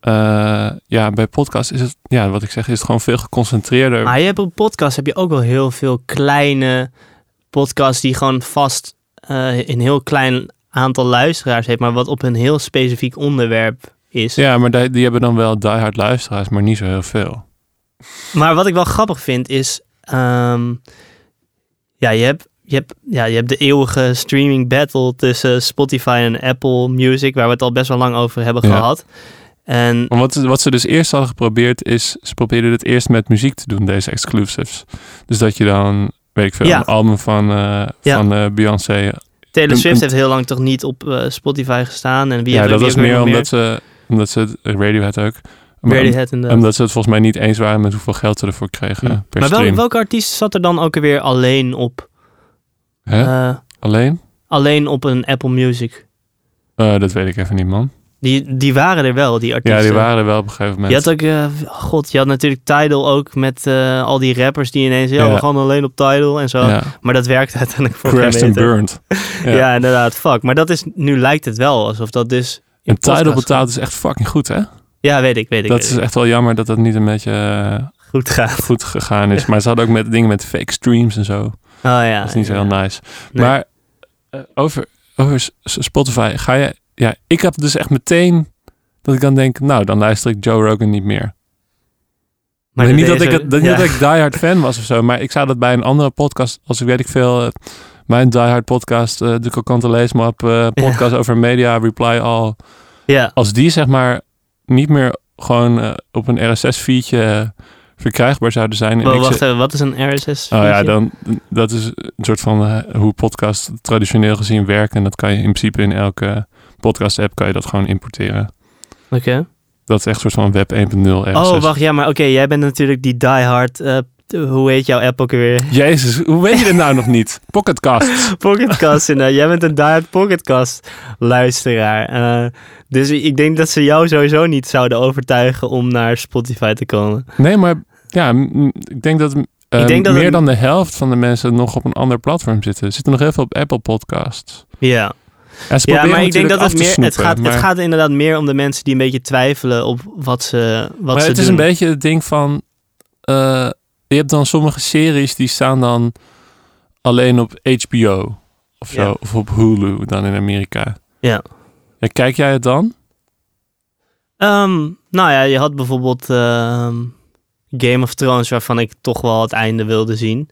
[SPEAKER 1] eh, ja, bij podcast is het, ja, wat ik zeg, is het gewoon veel geconcentreerder.
[SPEAKER 2] Maar je hebt op podcast heb je ook wel heel veel kleine podcasts die gewoon vast eh, een heel klein aantal luisteraars heeft, maar wat op een heel specifiek onderwerp is.
[SPEAKER 1] ja, maar die, die hebben dan wel diehard luisteraars, maar niet zo heel veel.
[SPEAKER 2] Maar wat ik wel grappig vind is, ehm, ja, je hebt, je, hebt, ja, je hebt de eeuwige streaming battle tussen Spotify en Apple Music, waar we het al best wel lang over hebben
[SPEAKER 1] Ja.
[SPEAKER 2] gehad. En
[SPEAKER 1] Want wat, wat ze dus eerst hadden geprobeerd is, ze probeerden het eerst met muziek te doen, deze exclusives. Dus dat je dan, weet ik veel,
[SPEAKER 2] Ja.
[SPEAKER 1] een album van, eh,
[SPEAKER 2] Ja.
[SPEAKER 1] van eh, Beyoncé.
[SPEAKER 2] Taylor
[SPEAKER 1] Een-
[SPEAKER 2] Swift
[SPEAKER 1] een-
[SPEAKER 2] heeft heel lang toch niet op eh, Spotify gestaan. En wie
[SPEAKER 1] Ja,
[SPEAKER 2] heeft
[SPEAKER 1] dat
[SPEAKER 2] wie
[SPEAKER 1] was
[SPEAKER 2] heeft er
[SPEAKER 1] meer
[SPEAKER 2] nog
[SPEAKER 1] omdat ze, omdat ze, het- Radiohead ook. Maar om-
[SPEAKER 2] Radiohead en de-
[SPEAKER 1] omdat ze het volgens mij niet eens waren met hoeveel geld ze ervoor kregen
[SPEAKER 2] Hmm.
[SPEAKER 1] eh, per
[SPEAKER 2] maar wel,
[SPEAKER 1] stream.
[SPEAKER 2] welke artiest zat er dan ook alweer alleen op,
[SPEAKER 1] Hè?
[SPEAKER 2] eh,
[SPEAKER 1] Alleen?
[SPEAKER 2] alleen op een Apple Music?
[SPEAKER 1] Eh, dat weet ik even niet, man.
[SPEAKER 2] Die, die waren er wel, die artiesten.
[SPEAKER 1] Ja, die waren er wel op een gegeven moment.
[SPEAKER 2] Je Dus, eh, had ook, eh, god, je had natuurlijk Tidal ook met eh, al die rappers die ineens, ja, we
[SPEAKER 1] Ja.
[SPEAKER 2] gaan alleen op Tidal en zo.
[SPEAKER 1] Ja.
[SPEAKER 2] Maar dat werkt uiteindelijk voor
[SPEAKER 1] Crashed
[SPEAKER 2] geen
[SPEAKER 1] and
[SPEAKER 2] meter.
[SPEAKER 1] burned.
[SPEAKER 2] Ja.
[SPEAKER 1] Ja.
[SPEAKER 2] inderdaad, fuck. Maar dat is, nu lijkt het wel alsof dat dus... in
[SPEAKER 1] En Tidal
[SPEAKER 2] podcast-
[SPEAKER 1] betaalt is echt fucking goed, hè?
[SPEAKER 2] Ja, weet ik, weet ik.
[SPEAKER 1] Dat
[SPEAKER 2] weet
[SPEAKER 1] is
[SPEAKER 2] ik.
[SPEAKER 1] echt wel jammer dat dat niet een beetje eh,
[SPEAKER 2] Goed gaat.
[SPEAKER 1] goed gegaan is. Maar ze hadden ook met dingen met fake streams en zo.
[SPEAKER 2] Oh ja.
[SPEAKER 1] dat is niet zo heel
[SPEAKER 2] ja.
[SPEAKER 1] nice.
[SPEAKER 2] Nee.
[SPEAKER 1] Maar eh, over, over S- S- Spotify ga je... Ja, ik heb dus echt meteen dat ik dan denk... Nou, dan luister ik Joe Rogan niet meer. Maar niet dat,
[SPEAKER 2] deze-
[SPEAKER 1] ik, het- dat,
[SPEAKER 2] ja.
[SPEAKER 1] niet dat ik diehard fan was of zo. Maar ik zou dat bij een andere podcast... Als ik weet ik veel... eh, mijn diehard podcast, eh, de Kokante Leesmap... eh, podcast over media, Reply All...
[SPEAKER 2] Ja,
[SPEAKER 1] als die zeg maar niet meer gewoon eh, op een RSS-feedje eh, verkrijgbaar zouden zijn. en
[SPEAKER 2] Wow,
[SPEAKER 1] ik
[SPEAKER 2] wacht
[SPEAKER 1] ze-
[SPEAKER 2] even, wat is een RSS?
[SPEAKER 1] oh ja,
[SPEAKER 2] feedje?
[SPEAKER 1] dan dat is een soort van eh, hoe podcasts traditioneel gezien werken. En dat kan je in principe in elke podcast-app kan je dat gewoon importeren.
[SPEAKER 2] Oké.
[SPEAKER 1] Dat is echt een soort van web 1.0 RSS.
[SPEAKER 2] Oh, wacht, ja, maar oké, jij bent natuurlijk die diehard, eh hoe heet jouw app ook weer?
[SPEAKER 1] Jezus, hoe weet je dit nou nog niet? Pocketcasts.
[SPEAKER 2] Pocketcast, inderdaad. Jij bent een diehard Pocketcast luisteraar. Eh, dus ik denk dat ze jou sowieso niet zouden overtuigen om naar Spotify te komen.
[SPEAKER 1] Nee, maar ja, m- ik denk dat... eh,
[SPEAKER 2] Ik denk dat
[SPEAKER 1] meer
[SPEAKER 2] het-
[SPEAKER 1] dan de helft van de mensen nog op een ander platform zitten. Er zitten nog heel veel op Apple Podcasts.
[SPEAKER 2] Ja,
[SPEAKER 1] En ze
[SPEAKER 2] ja
[SPEAKER 1] proberen
[SPEAKER 2] maar ik
[SPEAKER 1] natuurlijk
[SPEAKER 2] denk dat
[SPEAKER 1] af
[SPEAKER 2] het
[SPEAKER 1] te
[SPEAKER 2] meer, het
[SPEAKER 1] snoepen,
[SPEAKER 2] gaat,
[SPEAKER 1] maar-
[SPEAKER 2] het gaat inderdaad meer om de mensen die een beetje twijfelen op wat ze, wat
[SPEAKER 1] maar
[SPEAKER 2] ze
[SPEAKER 1] het
[SPEAKER 2] doen.
[SPEAKER 1] is een beetje het ding van... eh, je hebt dan sommige series die staan dan alleen op HBO of zo.
[SPEAKER 2] Ja.
[SPEAKER 1] Of op Hulu dan in Amerika.
[SPEAKER 2] Ja.
[SPEAKER 1] Ja, kijk jij het dan?
[SPEAKER 2] Ehm, nou ja, je had bijvoorbeeld ehm, Game of Thrones, waarvan ik toch wel het einde wilde zien.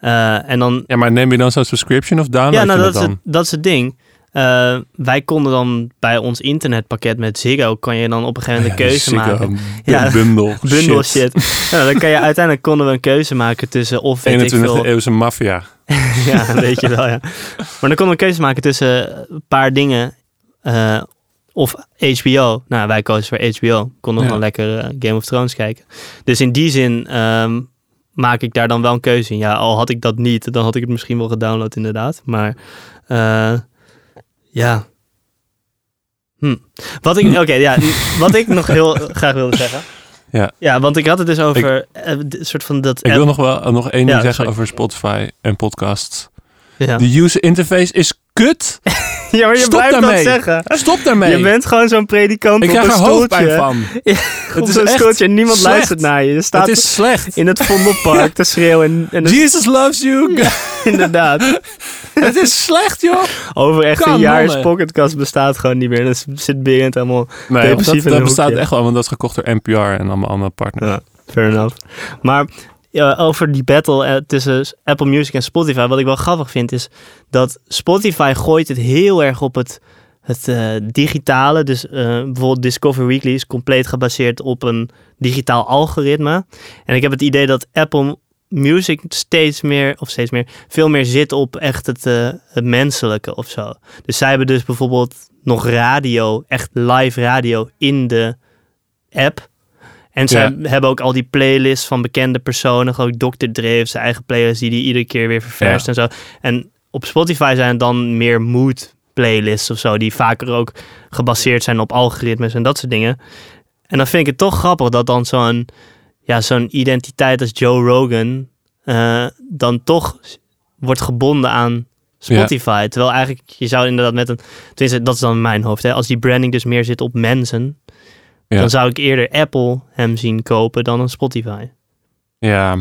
[SPEAKER 2] Eh, en dan
[SPEAKER 1] Ja, maar neem je dan zo'n subscription of download
[SPEAKER 2] ja, nou,
[SPEAKER 1] je
[SPEAKER 2] dat,
[SPEAKER 1] het
[SPEAKER 2] is
[SPEAKER 1] dan?
[SPEAKER 2] het, dat is het ding. Eh, wij konden dan bij ons internetpakket met Ziggo, kan je dan op een gegeven moment een keuze maken. Ja.
[SPEAKER 1] Ja, oh, bundel.
[SPEAKER 2] Bundel shit. nou, dan kan je, uiteindelijk konden we een keuze maken tussen of weet ik
[SPEAKER 1] 21e
[SPEAKER 2] veel,
[SPEAKER 1] eeuwse maffia.
[SPEAKER 2] ja, weet je wel, ja. Maar dan konden we een keuze maken tussen een paar dingen eh, of HBO. Nou, wij kozen voor HBO. Konden
[SPEAKER 1] Ja.
[SPEAKER 2] gewoon lekker eh, Game of Thrones kijken. Dus in die zin ehm, maak ik daar dan wel een keuze in. Ja, al had ik dat niet, dan had ik het misschien wel gedownload inderdaad. Maar eh, ja. Hm. Wat ik, oké, ja, wat ik nog heel graag wilde zeggen.
[SPEAKER 1] Ja.
[SPEAKER 2] ja, want ik had het dus over eh, d- soort van dat
[SPEAKER 1] Ik wil
[SPEAKER 2] app-
[SPEAKER 1] nog wel eh, nog één
[SPEAKER 2] Ja,
[SPEAKER 1] ding zeggen
[SPEAKER 2] sorry.
[SPEAKER 1] over Spotify en podcasts.
[SPEAKER 2] Ja.
[SPEAKER 1] De user interface is kut.
[SPEAKER 2] ja, maar je
[SPEAKER 1] Stop
[SPEAKER 2] blijft
[SPEAKER 1] daarmee.
[SPEAKER 2] dat zeggen.
[SPEAKER 1] Stop daarmee.
[SPEAKER 2] Je bent gewoon zo'n predikant
[SPEAKER 1] ik
[SPEAKER 2] op
[SPEAKER 1] krijg
[SPEAKER 2] een
[SPEAKER 1] er hoofdpijn
[SPEAKER 2] stoeltje.
[SPEAKER 1] van.
[SPEAKER 2] Ja,
[SPEAKER 1] Het
[SPEAKER 2] op
[SPEAKER 1] is
[SPEAKER 2] zo'n
[SPEAKER 1] echt
[SPEAKER 2] stoeltje en niemand
[SPEAKER 1] slecht.
[SPEAKER 2] luistert naar je. Je staat dus
[SPEAKER 1] Het is slecht.
[SPEAKER 2] in het Vondelpark te schreeuwen. En, en
[SPEAKER 1] Jesus loves you.
[SPEAKER 2] inderdaad,
[SPEAKER 1] het is slecht, joh.
[SPEAKER 2] over echt
[SPEAKER 1] Kan,
[SPEAKER 2] een jaar is
[SPEAKER 1] mannen.
[SPEAKER 2] Pocketcast bestaat gewoon niet meer. Dan s- zit Berend helemaal
[SPEAKER 1] Nee,
[SPEAKER 2] Depressief
[SPEAKER 1] dat,
[SPEAKER 2] in een
[SPEAKER 1] dat bestaat
[SPEAKER 2] hoekje.
[SPEAKER 1] echt wel, want dat is gekocht door NPR en allemaal andere partners.
[SPEAKER 2] Ja, fair enough. Maar ja, over die battle eh, tussen s- Apple Music en Spotify, wat ik wel grappig vind, is dat Spotify gooit het heel erg op het, het eh, digitale. Dus eh, bijvoorbeeld Discover Weekly is compleet gebaseerd op een digitaal algoritme. En ik heb het idee dat Apple Music steeds meer, of steeds meer, veel meer zit op echt het, eh, het menselijke of zo. Dus zij hebben dus bijvoorbeeld nog radio, echt live radio in de app. En zij hebben ook al die playlists van bekende personen. Gewoon Dr. Dre heeft zijn eigen playlist die hij iedere keer weer ververst en zo. En op Spotify zijn het dan meer mood playlists of zo. Die vaker ook gebaseerd zijn op algoritmes en dat soort dingen. En dan vind ik het toch grappig dat dan zo'n ja, zo'n identiteit als Joe Rogan eh, dan toch s- wordt gebonden aan Spotify. Terwijl eigenlijk, je zou inderdaad met een... Tenminste, dat is dan in mijn hoofd. Hè, als die branding dus meer zit op mensen,
[SPEAKER 1] Ja.
[SPEAKER 2] dan zou ik eerder Apple hem zien kopen dan een Spotify.
[SPEAKER 1] Ja.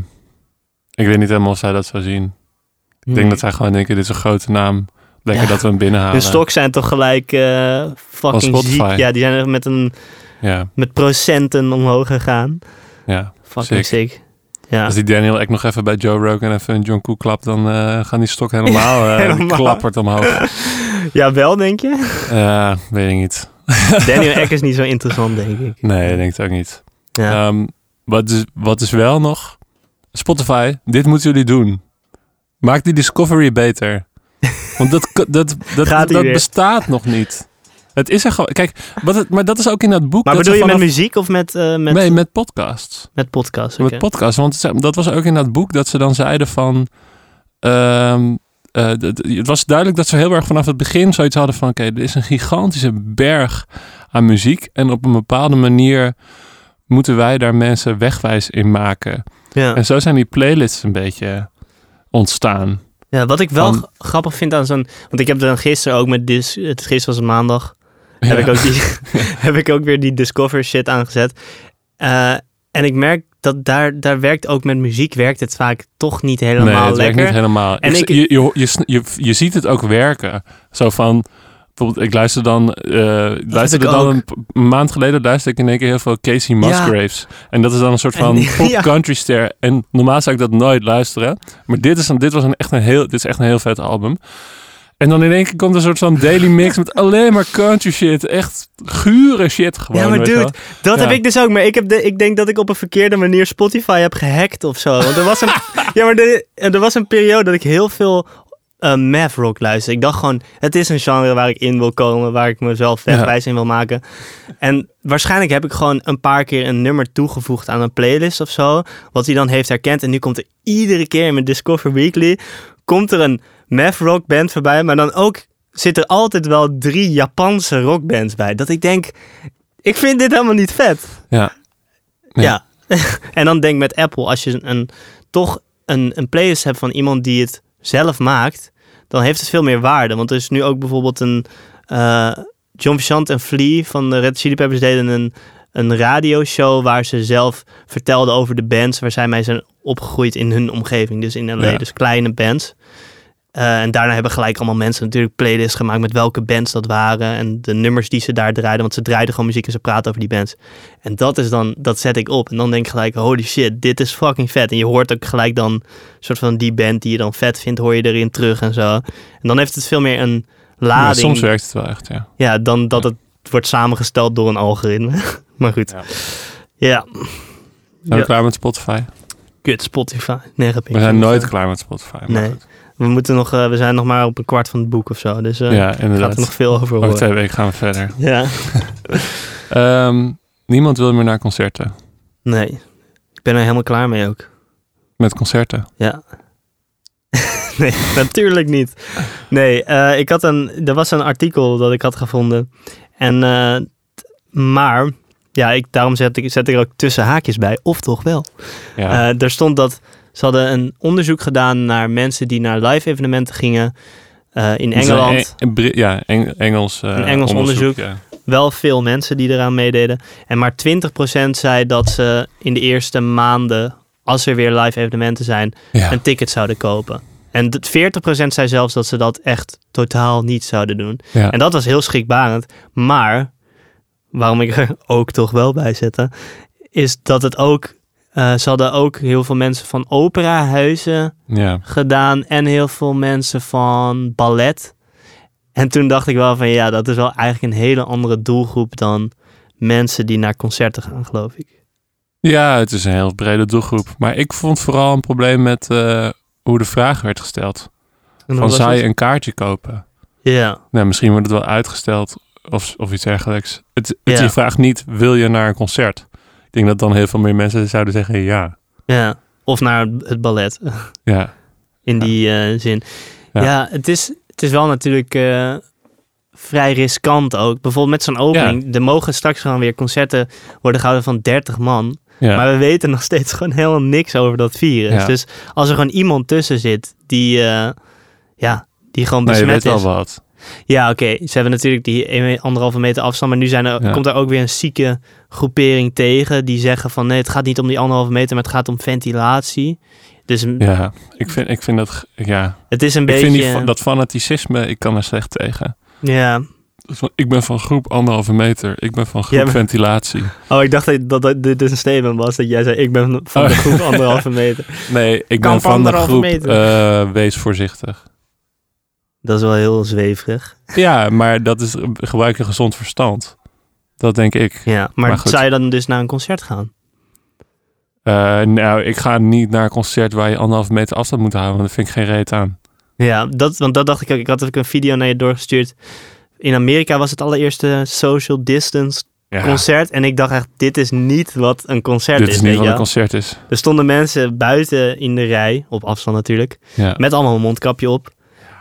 [SPEAKER 1] Ik weet niet helemaal of zij dat zou zien. Ik denk dat zij gewoon denken, dit is een grote naam. Lekker
[SPEAKER 2] Ja.
[SPEAKER 1] dat we hem
[SPEAKER 2] Hun
[SPEAKER 1] binnenhalen.
[SPEAKER 2] stok zijn toch gelijk eh,
[SPEAKER 1] Van
[SPEAKER 2] fucking
[SPEAKER 1] Spotify.
[SPEAKER 2] ziek. Ja, die zijn er met, een,
[SPEAKER 1] Ja,
[SPEAKER 2] met procenten omhoog gegaan.
[SPEAKER 1] ja.
[SPEAKER 2] Fucking sick. Ja.
[SPEAKER 1] Als die Daniel Ek nog even bij Joe Rogan even een John Cook klapt, dan eh, gaan die stok helemaal, eh, die
[SPEAKER 2] helemaal.
[SPEAKER 1] klappert omhoog.
[SPEAKER 2] ja, wel denk je?
[SPEAKER 1] Ja, weet ik niet.
[SPEAKER 2] Daniel Eck is niet zo interessant, denk ik.
[SPEAKER 1] Nee, ik denk het ook niet.
[SPEAKER 2] Ja.
[SPEAKER 1] Ehm, wat, is, wat is wel nog? Spotify, dit moeten jullie doen. Maak die Discovery beter. Want dat, dat, dat,
[SPEAKER 2] Gaat
[SPEAKER 1] dat,
[SPEAKER 2] ie weer.
[SPEAKER 1] bestaat nog niet. Het is er gewoon. Kijk, wat het, maar dat is ook in dat boek.
[SPEAKER 2] Maar
[SPEAKER 1] dat
[SPEAKER 2] bedoel je
[SPEAKER 1] ze
[SPEAKER 2] met
[SPEAKER 1] vanaf-
[SPEAKER 2] muziek of met, eh, met,
[SPEAKER 1] Nee, met podcasts.
[SPEAKER 2] met podcast?
[SPEAKER 1] Met podcasts. Want ze- dat was ook in dat boek dat ze dan zeiden van. ehm, eh, d- d- het was duidelijk dat ze heel erg vanaf het begin zoiets hadden van: oké, er is een gigantische berg aan muziek. En op een bepaalde manier moeten wij daar mensen wegwijs in maken.
[SPEAKER 2] Ja.
[SPEAKER 1] En zo zijn die playlists een beetje ontstaan.
[SPEAKER 2] ja, wat ik wel
[SPEAKER 1] Van-
[SPEAKER 2] g- grappig vind aan zo'n... Want ik heb dan gisteren ook met... Dis, het, gisteren was het maandag. Heb,
[SPEAKER 1] Ja.
[SPEAKER 2] ik ook die, heb ik ook weer die Discover shit aangezet. Eh, en ik merk dat daar, daar werkt ook met muziek... werkt het vaak toch niet helemaal
[SPEAKER 1] nee, het werkt
[SPEAKER 2] lekker.
[SPEAKER 1] niet helemaal.
[SPEAKER 2] En
[SPEAKER 1] En
[SPEAKER 2] ik-
[SPEAKER 1] je, je, je, sn- je, je ziet het ook werken. Zo van, bijvoorbeeld, ik luister dan, eh ik luisterde
[SPEAKER 2] ik
[SPEAKER 1] dan
[SPEAKER 2] ook.
[SPEAKER 1] een, p- een maand geleden luisterde ik in één keer heel veel Casey Musgraves. En dat is dan een soort
[SPEAKER 2] En
[SPEAKER 1] van
[SPEAKER 2] die-
[SPEAKER 1] pop
[SPEAKER 2] ja.
[SPEAKER 1] country ster. En normaal zou ik dat nooit luisteren. Maar dit is, een, dit was een, echt, een heel, dit is echt een heel vet album. En dan in één keer komt een soort van daily mix met alleen maar country shit. Echt gure shit gewoon.
[SPEAKER 2] ja, maar
[SPEAKER 1] weet je
[SPEAKER 2] dude, dat
[SPEAKER 1] Ja.
[SPEAKER 2] heb ik dus ook. Maar ik, heb de, ik denk dat ik op een verkeerde manier Spotify heb gehackt of zo. Want er was een, ja, maar er, er was een periode dat ik heel veel eh math rock luisterde. Ik dacht gewoon, het is een genre waar ik in wil komen. Waar ik mezelf
[SPEAKER 1] Ja.
[SPEAKER 2] wegwijs in wil maken. En waarschijnlijk heb ik gewoon een paar keer een nummer toegevoegd aan een playlist of zo. Wat hij dan heeft herkend. En nu komt er iedere keer in mijn Discover Weekly... komt er een math rock band voorbij. Maar dan ook zit er altijd wel drie Japanse rockbands bij. Dat ik denk... Ik vind dit helemaal niet vet.
[SPEAKER 1] wel. Ja. Ja.
[SPEAKER 2] Ja. en dan denk ik met Apple, als je een, een- toch een, een playlist hebt van iemand die het zelf maakt, dan heeft het veel meer waarde. Want er is nu ook bijvoorbeeld een eh, John Frusciante en Flea van de Red Chili Peppers deden een, een radioshow waar ze zelf vertelden over de bands waar zij mee zijn opgegroeid in hun omgeving. Dus in LA,
[SPEAKER 1] Ja.
[SPEAKER 2] dus kleine bands. Eh, en daarna hebben gelijk allemaal mensen natuurlijk playlists gemaakt met welke bands dat waren en de nummers die ze daar draaiden. Want ze draaiden gewoon muziek en ze praten over die bands. En dat is dan, dat zet ik op. En dan denk ik gelijk, holy shit, dit is fucking vet. En je hoort ook gelijk dan, soort van die band die je dan vet vindt, hoor je erin terug en zo. En dan heeft het veel meer een
[SPEAKER 1] Maar
[SPEAKER 2] lading.
[SPEAKER 1] soms werkt het wel echt, ja.
[SPEAKER 2] Ja, dan dat het wordt samengesteld door een algoritme. maar goed.
[SPEAKER 1] Ja.
[SPEAKER 2] Ja.
[SPEAKER 1] Zijn we
[SPEAKER 2] Ja.
[SPEAKER 1] klaar met Spotify?
[SPEAKER 2] Kut, Spotify. Nee, grapje.
[SPEAKER 1] We zijn nooit klaar met Spotify. maar
[SPEAKER 2] Nee.
[SPEAKER 1] goed.
[SPEAKER 2] We, moeten nog, eh, we zijn nog maar op een kwart van het boek of zo. Dus eh
[SPEAKER 1] Ja,
[SPEAKER 2] gaat er nog
[SPEAKER 1] inderdaad.
[SPEAKER 2] veel over
[SPEAKER 1] Over
[SPEAKER 2] horen.
[SPEAKER 1] twee weken gaan we verder.
[SPEAKER 2] Ja.
[SPEAKER 1] Ehm, niemand wil meer naar concerten.
[SPEAKER 2] Nee. Ik ben er helemaal klaar mee ook.
[SPEAKER 1] met concerten.
[SPEAKER 2] Ja. nee, natuurlijk niet. Nee, eh, ik had een, er was een artikel dat ik had gevonden. En, eh, t- maar, ja, ik, daarom zet ik, zet ik er ook tussen haakjes bij. Of toch wel.
[SPEAKER 1] Ja.
[SPEAKER 2] Eh, er stond dat ze hadden een onderzoek gedaan naar mensen die naar live evenementen gingen eh, in
[SPEAKER 1] Het is een
[SPEAKER 2] Engeland.
[SPEAKER 1] Eng- Bri- ja, Eng- Engels, eh,
[SPEAKER 2] Een Engels onderzoek.
[SPEAKER 1] ja.
[SPEAKER 2] wel veel mensen die eraan meededen. En maar 20% zei dat ze in de eerste maanden, als er weer live evenementen zijn,
[SPEAKER 1] Ja.
[SPEAKER 2] een ticket zouden kopen. En d- 40% zei zelfs dat ze dat echt totaal niet zouden doen.
[SPEAKER 1] Ja.
[SPEAKER 2] En dat was heel schrikbarend. Maar, waarom ik er ook toch wel bij zette, is dat het ook... eh, ze hadden ook heel veel mensen van operahuizen
[SPEAKER 1] ja.
[SPEAKER 2] gedaan en heel veel mensen van ballet. En toen dacht ik wel van ja, dat is wel eigenlijk een hele andere doelgroep dan mensen die naar concerten gaan, geloof ik.
[SPEAKER 1] Ja, het is een heel brede doelgroep. Maar ik vond vooral een probleem met eh, hoe de vraag werd gesteld.
[SPEAKER 2] En hoe
[SPEAKER 1] Van
[SPEAKER 2] was
[SPEAKER 1] zou je
[SPEAKER 2] het?
[SPEAKER 1] een kaartje kopen?
[SPEAKER 2] Ja,
[SPEAKER 1] Nou, misschien wordt het wel uitgesteld of, of iets dergelijks. Het, het,
[SPEAKER 2] Ja.
[SPEAKER 1] Je vraagt niet, wil je naar een concert? Ik denk dat dan heel veel meer mensen zouden zeggen ja.
[SPEAKER 2] ja. Of naar het ballet,
[SPEAKER 1] Ja,
[SPEAKER 2] in
[SPEAKER 1] Ja.
[SPEAKER 2] die eh, zin.
[SPEAKER 1] Ja.
[SPEAKER 2] Ja, het, is, het is wel natuurlijk eh, vrij riskant ook. Bijvoorbeeld met zo'n opening. Er mogen straks gewoon weer concerten worden gehouden van 30 man.
[SPEAKER 1] ja.
[SPEAKER 2] Maar we weten nog steeds gewoon helemaal niks over dat virus.
[SPEAKER 1] Ja.
[SPEAKER 2] Dus als er gewoon iemand tussen zit die, eh, ja, die gewoon
[SPEAKER 1] nou, je
[SPEAKER 2] besmet
[SPEAKER 1] weet wel
[SPEAKER 2] is.
[SPEAKER 1] wat.
[SPEAKER 2] Ja, oké. Ze hebben natuurlijk die 1,5 meter afstand. Maar nu zijn er,
[SPEAKER 1] Ja.
[SPEAKER 2] komt er ook weer een zieke groepering tegen. Die zeggen van nee, het gaat niet om die anderhalve meter, maar het gaat om ventilatie. Dus m-
[SPEAKER 1] Ja, ik vind, ik vind dat... g- Ja,
[SPEAKER 2] het is een
[SPEAKER 1] ik
[SPEAKER 2] beetje...
[SPEAKER 1] vind die, fa- dat fanaticisme, ik kan er slecht tegen.
[SPEAKER 2] Ja.
[SPEAKER 1] Dus van, Ik ben van groep anderhalve meter. Ik ben van groep
[SPEAKER 2] Jij bent-
[SPEAKER 1] ventilatie.
[SPEAKER 2] Oh, ik dacht dat, dat, dat dit dus een statement was. Dat jij zei, ik ben van de
[SPEAKER 1] Oh.
[SPEAKER 2] groep anderhalve meter.
[SPEAKER 1] Nee, ik
[SPEAKER 2] Kan
[SPEAKER 1] ben van
[SPEAKER 2] van
[SPEAKER 1] de
[SPEAKER 2] anderhalve
[SPEAKER 1] groep
[SPEAKER 2] meter.
[SPEAKER 1] eh, wees voorzichtig.
[SPEAKER 2] Dat is wel heel zweverig.
[SPEAKER 1] Ja, maar dat is gebruik je gezond verstand. Dat denk ik.
[SPEAKER 2] Ja, maar,
[SPEAKER 1] Maar goed.
[SPEAKER 2] zou je dan dus naar een concert gaan?
[SPEAKER 1] Eh, nou, ik ga niet naar een concert waar je anderhalve meter afstand moet houden. Want daar vind ik geen reet aan.
[SPEAKER 2] Ja, dat, want dat dacht ik ook. Ik had ook een video naar je doorgestuurd. In Amerika was het allereerste social distance
[SPEAKER 1] Ja,
[SPEAKER 2] concert. En ik dacht echt, dit is niet wat een concert
[SPEAKER 1] dit
[SPEAKER 2] is.
[SPEAKER 1] is
[SPEAKER 2] weet
[SPEAKER 1] niet
[SPEAKER 2] je
[SPEAKER 1] wat een
[SPEAKER 2] wel.
[SPEAKER 1] concert is.
[SPEAKER 2] Er stonden mensen buiten in de rij, op afstand natuurlijk,
[SPEAKER 1] Ja.
[SPEAKER 2] met allemaal een mondkapje op.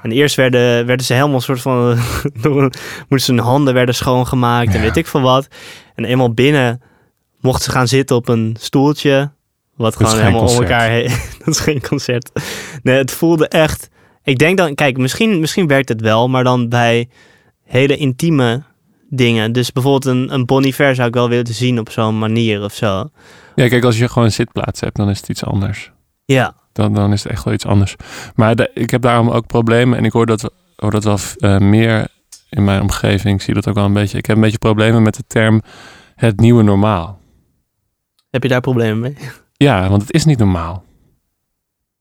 [SPEAKER 2] En eerst werden, werden ze helemaal een soort van, door een- moesten hun handen werden schoongemaakt
[SPEAKER 1] Ja.
[SPEAKER 2] en weet ik veel wat. En eenmaal binnen mochten ze gaan zitten op een stoeltje, wat
[SPEAKER 1] is
[SPEAKER 2] gewoon
[SPEAKER 1] geen
[SPEAKER 2] helemaal om
[SPEAKER 1] concert.
[SPEAKER 2] elkaar heen. Dat is geen concert. Nee, het voelde echt, ik denk dan, kijk, misschien, misschien werkt het wel, maar dan bij hele intieme dingen. Dus bijvoorbeeld een, een Bon Iver zou ik wel willen zien op zo'n manier of zo.
[SPEAKER 1] ja, kijk, als je gewoon een zitplaats hebt, dan is het iets anders.
[SPEAKER 2] Ja.
[SPEAKER 1] Dan, dan is het echt wel iets anders. Maar da- ik heb daarom ook problemen. En ik hoor dat, hoor dat wel eh, meer in mijn omgeving. Ik zie dat ook wel een beetje. Ik heb een beetje problemen met de term het nieuwe normaal.
[SPEAKER 2] Heb je daar problemen mee?
[SPEAKER 1] Ja, want het is niet normaal.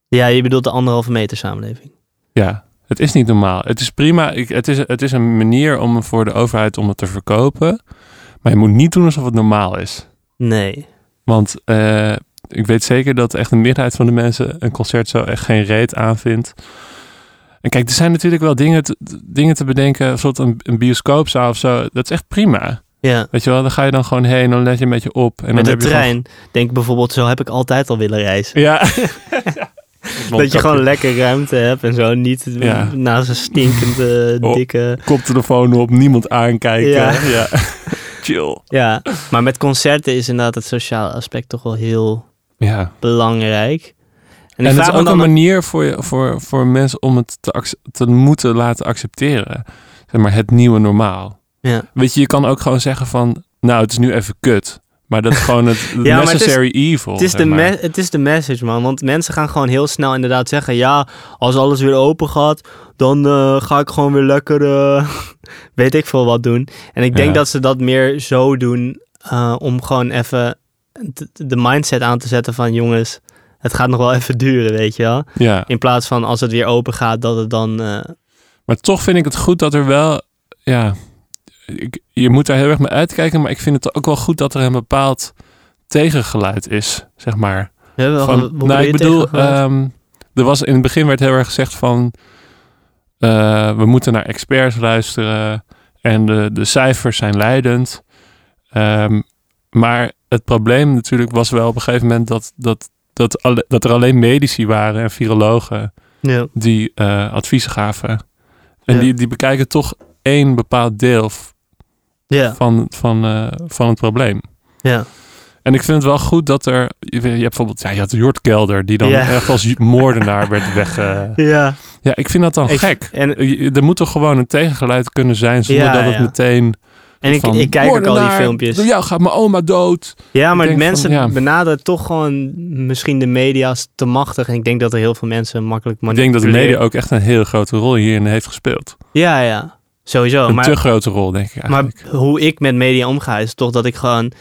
[SPEAKER 2] Ja, je bedoelt de anderhalve meter samenleving.
[SPEAKER 1] Ja, het is niet normaal. Het is prima. Ik, het, is, het is een manier om voor de overheid om het te verkopen. Maar je moet niet doen alsof het normaal is.
[SPEAKER 2] Nee.
[SPEAKER 1] Want eh, ik weet zeker dat echt een meerderheid van de mensen een concert zo echt geen reet aanvindt. En kijk, er zijn natuurlijk wel dingen te, dingen te bedenken, bijvoorbeeld een, een bioscoopzaal of zo. Dat is echt prima.
[SPEAKER 2] Ja.
[SPEAKER 1] Weet je wel, daar ga je dan gewoon heen, dan let je een beetje op. En dan
[SPEAKER 2] Met de
[SPEAKER 1] heb je gewoon-
[SPEAKER 2] trein. Denk bijvoorbeeld, zo heb ik altijd al willen reizen.
[SPEAKER 1] ja.
[SPEAKER 2] Dat je gewoon lekker ruimte hebt en zo. Niet
[SPEAKER 1] Ja.
[SPEAKER 2] naast een stinkende,
[SPEAKER 1] Oh.
[SPEAKER 2] dikke...
[SPEAKER 1] koptelefoon op, niemand aankijken.
[SPEAKER 2] Ja.
[SPEAKER 1] ja. Chill.
[SPEAKER 2] Ja. Maar met concerten is inderdaad het sociale aspect toch wel heel
[SPEAKER 1] Ja.
[SPEAKER 2] belangrijk. En,
[SPEAKER 1] En,
[SPEAKER 2] ik
[SPEAKER 1] het
[SPEAKER 2] vraag
[SPEAKER 1] is
[SPEAKER 2] me
[SPEAKER 1] ook een
[SPEAKER 2] dan...
[SPEAKER 1] manier voor, je, voor, voor mensen om het te, acce- te moeten laten accepteren. Zeg maar het nieuwe normaal.
[SPEAKER 2] Ja.
[SPEAKER 1] Weet je, je kan ook gewoon zeggen van, nou het is nu even kut. Maar dat is gewoon het, het
[SPEAKER 2] maar het is-
[SPEAKER 1] necessary evil.
[SPEAKER 2] Het is,
[SPEAKER 1] zeg
[SPEAKER 2] de
[SPEAKER 1] maar.
[SPEAKER 2] me- het is de message, man. Want mensen gaan gewoon heel snel inderdaad zeggen... ja, als alles weer open gaat... dan eh, ga ik gewoon weer lekker... eh, weet ik veel wat doen. En ik denk
[SPEAKER 1] Ja.
[SPEAKER 2] dat ze dat meer zo doen... eh, om gewoon even d- de mindset aan te zetten van... jongens, het gaat nog wel even duren, weet je wel.
[SPEAKER 1] Ja,
[SPEAKER 2] In plaats van als het weer open gaat... dat het dan... eh,
[SPEAKER 1] maar toch vind ik het goed dat er wel, ja, ik, je moet daar heel erg mee uitkijken. Maar ik vind het ook wel goed dat er een bepaald tegengeluid is, zeg maar.
[SPEAKER 2] we hebben wel
[SPEAKER 1] Van-
[SPEAKER 2] ge- hoe
[SPEAKER 1] nou, ik
[SPEAKER 2] je
[SPEAKER 1] bedoel,
[SPEAKER 2] tegengehouden?
[SPEAKER 1] ehm, er was in het begin werd heel erg gezegd van eh, we moeten naar experts luisteren en de, de cijfers zijn leidend. Ehm, maar het probleem natuurlijk was wel op een gegeven moment dat, dat dat, alle- dat er alleen medici waren en virologen
[SPEAKER 2] Ja.
[SPEAKER 1] die eh, adviezen gaven. En
[SPEAKER 2] Ja.
[SPEAKER 1] die, die bekijken toch één bepaald deel v-
[SPEAKER 2] Ja.
[SPEAKER 1] van, van, eh, van het probleem.
[SPEAKER 2] Ja.
[SPEAKER 1] En ik vind het wel goed dat er... Je, weet- je hebt bijvoorbeeld... Ja, je had Jort Kelder, die dan
[SPEAKER 2] Ja.
[SPEAKER 1] echt als ju- moordenaar werd weg... eh.
[SPEAKER 2] Ja.
[SPEAKER 1] Ja, ik vind dat dan
[SPEAKER 2] Ik-
[SPEAKER 1] gek.
[SPEAKER 2] En,
[SPEAKER 1] Je- Er moet toch gewoon een tegengeluid kunnen zijn zonder
[SPEAKER 2] Ja,
[SPEAKER 1] dat het
[SPEAKER 2] ja.
[SPEAKER 1] meteen...
[SPEAKER 2] en ik,
[SPEAKER 1] van,
[SPEAKER 2] ik kijk ook al die
[SPEAKER 1] "Moordenaar,
[SPEAKER 2] filmpjes.
[SPEAKER 1] Door jou gaat mijn oma dood.
[SPEAKER 2] Ja, maar
[SPEAKER 1] Ik denk
[SPEAKER 2] mensen
[SPEAKER 1] van, ja.
[SPEAKER 2] benaderen toch gewoon misschien de media's te machtig. En ik denk dat er heel veel mensen makkelijk
[SPEAKER 1] Ik denk dat de
[SPEAKER 2] manipuleren.
[SPEAKER 1] media ook echt een hele grote rol hierin heeft gespeeld.
[SPEAKER 2] Ja, ja. Sowieso.
[SPEAKER 1] een
[SPEAKER 2] maar,
[SPEAKER 1] te grote rol, denk ik
[SPEAKER 2] maar
[SPEAKER 1] eigenlijk.
[SPEAKER 2] hoe ik met media omga is toch dat ik gewoon...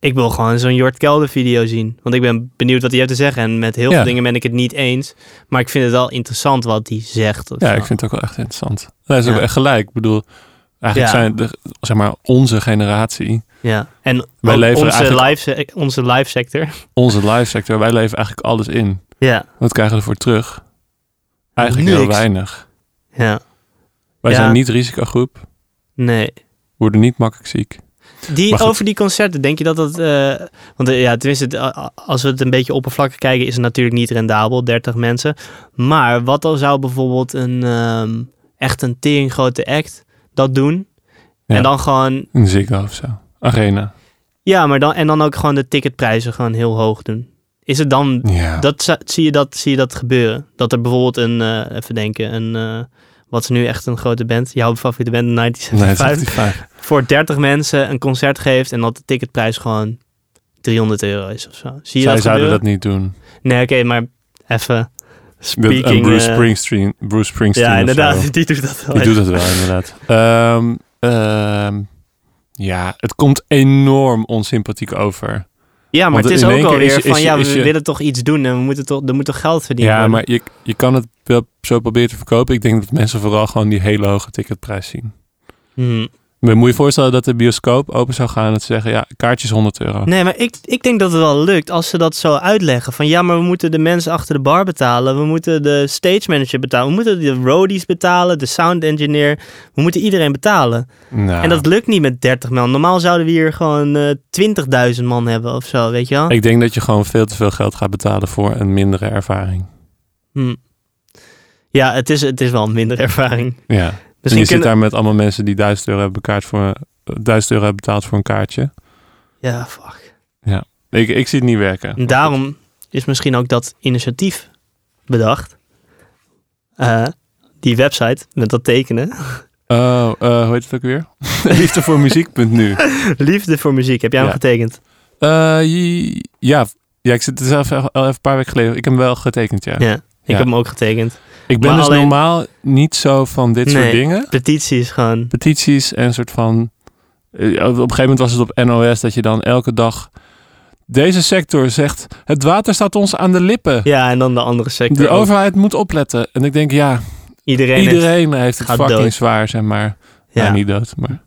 [SPEAKER 2] Ik wil gewoon zo'n Jort Kelder video zien. Want ik ben benieuwd wat hij heeft te zeggen. En met heel
[SPEAKER 1] Ja.
[SPEAKER 2] veel dingen ben ik het niet eens. Maar ik vind het wel interessant wat hij zegt. of
[SPEAKER 1] ja,
[SPEAKER 2] zo.
[SPEAKER 1] ik vind het ook wel echt interessant. Hij is ook
[SPEAKER 2] Ja.
[SPEAKER 1] echt gelijk. Ik bedoel, eigenlijk
[SPEAKER 2] Ja.
[SPEAKER 1] zijn de, zeg maar onze generatie,
[SPEAKER 2] ja. En
[SPEAKER 1] Wij
[SPEAKER 2] ook
[SPEAKER 1] leveren
[SPEAKER 2] onze,
[SPEAKER 1] eigenlijk-
[SPEAKER 2] live, se- onze live sector.
[SPEAKER 1] onze live sector, wij leven eigenlijk alles in.
[SPEAKER 2] Ja,
[SPEAKER 1] Wat krijgen we ervoor terug? Eigenlijk heel
[SPEAKER 2] Niks.
[SPEAKER 1] weinig.
[SPEAKER 2] ja.
[SPEAKER 1] Wij
[SPEAKER 2] Ja.
[SPEAKER 1] zijn niet risicogroep,
[SPEAKER 2] Nee.
[SPEAKER 1] worden niet makkelijk ziek.
[SPEAKER 2] Die,
[SPEAKER 1] Maar goed.
[SPEAKER 2] over die concerten, denk je dat dat... eh, want eh, ja, tenminste, eh, a- a- als we het een beetje oppervlakkig kijken... is het natuurlijk niet rendabel, 30 mensen. Maar wat dan zou bijvoorbeeld een ehm, echt een teringgrote act dat doen?
[SPEAKER 1] Ja.
[SPEAKER 2] En dan gewoon...
[SPEAKER 1] In de Ziggo of zo. Arena.
[SPEAKER 2] Ja, maar dan, en dan ook gewoon de ticketprijzen gewoon heel hoog doen. Is het dan...
[SPEAKER 1] Ja.
[SPEAKER 2] Dat, za- zie, je dat, zie je dat gebeuren? Dat er bijvoorbeeld een... eh, even denken, een... eh, wat is nu echt een grote band? Jouw favoriete band, 1975
[SPEAKER 1] 5.
[SPEAKER 2] voor 30 mensen een concert geeft en dat de ticketprijs gewoon 300 euro is of zo. Zie je
[SPEAKER 1] Zij
[SPEAKER 2] dat
[SPEAKER 1] zouden
[SPEAKER 2] gebeuren?
[SPEAKER 1] dat niet doen.
[SPEAKER 2] Nee, oké, maar even
[SPEAKER 1] Dat- en
[SPEAKER 2] speaking...
[SPEAKER 1] Bruce
[SPEAKER 2] eh,
[SPEAKER 1] Springsteen. Bruce Springsteen
[SPEAKER 2] ja,
[SPEAKER 1] of
[SPEAKER 2] inderdaad,
[SPEAKER 1] zo.
[SPEAKER 2] die doet dat wel.
[SPEAKER 1] Die
[SPEAKER 2] echt.
[SPEAKER 1] doet het wel, inderdaad. Ehm, ehm, ja, het komt enorm onsympathiek over.
[SPEAKER 2] Ja, maar
[SPEAKER 1] Want
[SPEAKER 2] het is
[SPEAKER 1] in
[SPEAKER 2] ook
[SPEAKER 1] één keer
[SPEAKER 2] alweer
[SPEAKER 1] is-
[SPEAKER 2] van,
[SPEAKER 1] is-
[SPEAKER 2] ja, we
[SPEAKER 1] is je-
[SPEAKER 2] willen toch iets doen en we moeten toch, er moet toch geld verdienen
[SPEAKER 1] Ja,
[SPEAKER 2] worden?
[SPEAKER 1] maar je, je kan het wel zo proberen te verkopen. Ik denk dat mensen vooral gewoon die hele hoge ticketprijs zien.
[SPEAKER 2] Hmm.
[SPEAKER 1] Maar moet je voorstellen dat de bioscoop open zou gaan en te zeggen, ja, kaartjes 100 euro.
[SPEAKER 2] Nee, maar ik, ik denk dat het wel lukt als ze dat zo uitleggen. Van ja, maar we moeten de mensen achter de bar betalen. We moeten de stage manager betalen. We moeten de roadies betalen, de sound engineer. We moeten iedereen betalen.
[SPEAKER 1] Nou,
[SPEAKER 2] En dat lukt niet met 30 man. Normaal zouden we hier gewoon eh 20.000 man hebben of zo, weet je wel?
[SPEAKER 1] Ik denk dat je gewoon veel te veel geld gaat betalen voor een mindere ervaring.
[SPEAKER 2] Hm. Ja, het is, het is wel een minder ervaring.
[SPEAKER 1] Ja. En Dus je
[SPEAKER 2] Misschien
[SPEAKER 1] zit
[SPEAKER 2] kunnen...
[SPEAKER 1] daar met allemaal mensen die 1000 euro hebben, bekaart voor, eh, 1000 euro hebben betaald voor een kaartje.
[SPEAKER 2] Ja, fuck.
[SPEAKER 1] Ik, ik zie het niet werken.
[SPEAKER 2] En daarom is misschien ook dat initiatief bedacht. Eh, die website met dat tekenen.
[SPEAKER 1] Oh, eh, hoe heet het ook weer? Liefde voor muziek.nu.
[SPEAKER 2] Liefde voor muziek, heb jij
[SPEAKER 1] Ja.
[SPEAKER 2] hem getekend?
[SPEAKER 1] Eh, je- ja, ja, ik zit er zelf al even een paar weken geleden. Ik heb hem wel getekend, ja.
[SPEAKER 2] Ja. Ik
[SPEAKER 1] Ja.
[SPEAKER 2] heb hem ook getekend.
[SPEAKER 1] Ik ben
[SPEAKER 2] Maar
[SPEAKER 1] dus
[SPEAKER 2] alleen-
[SPEAKER 1] normaal niet zo van dit soort
[SPEAKER 2] Nee.
[SPEAKER 1] dingen.
[SPEAKER 2] Petities gewoon.
[SPEAKER 1] Petities en een soort van... eh, Op een gegeven moment was het op NOS dat je dan elke dag... Deze sector zegt, het water staat ons aan de lippen.
[SPEAKER 2] Ja, en dan de andere sector.
[SPEAKER 1] De
[SPEAKER 2] ook.
[SPEAKER 1] overheid moet opletten. En ik denk, ja,
[SPEAKER 2] Iedereen. heeft-
[SPEAKER 1] iedereen heeft het
[SPEAKER 2] gaat
[SPEAKER 1] fucking
[SPEAKER 2] dood.
[SPEAKER 1] zwaar, zeg maar.
[SPEAKER 2] ja.
[SPEAKER 1] Nou, niet dood, maar...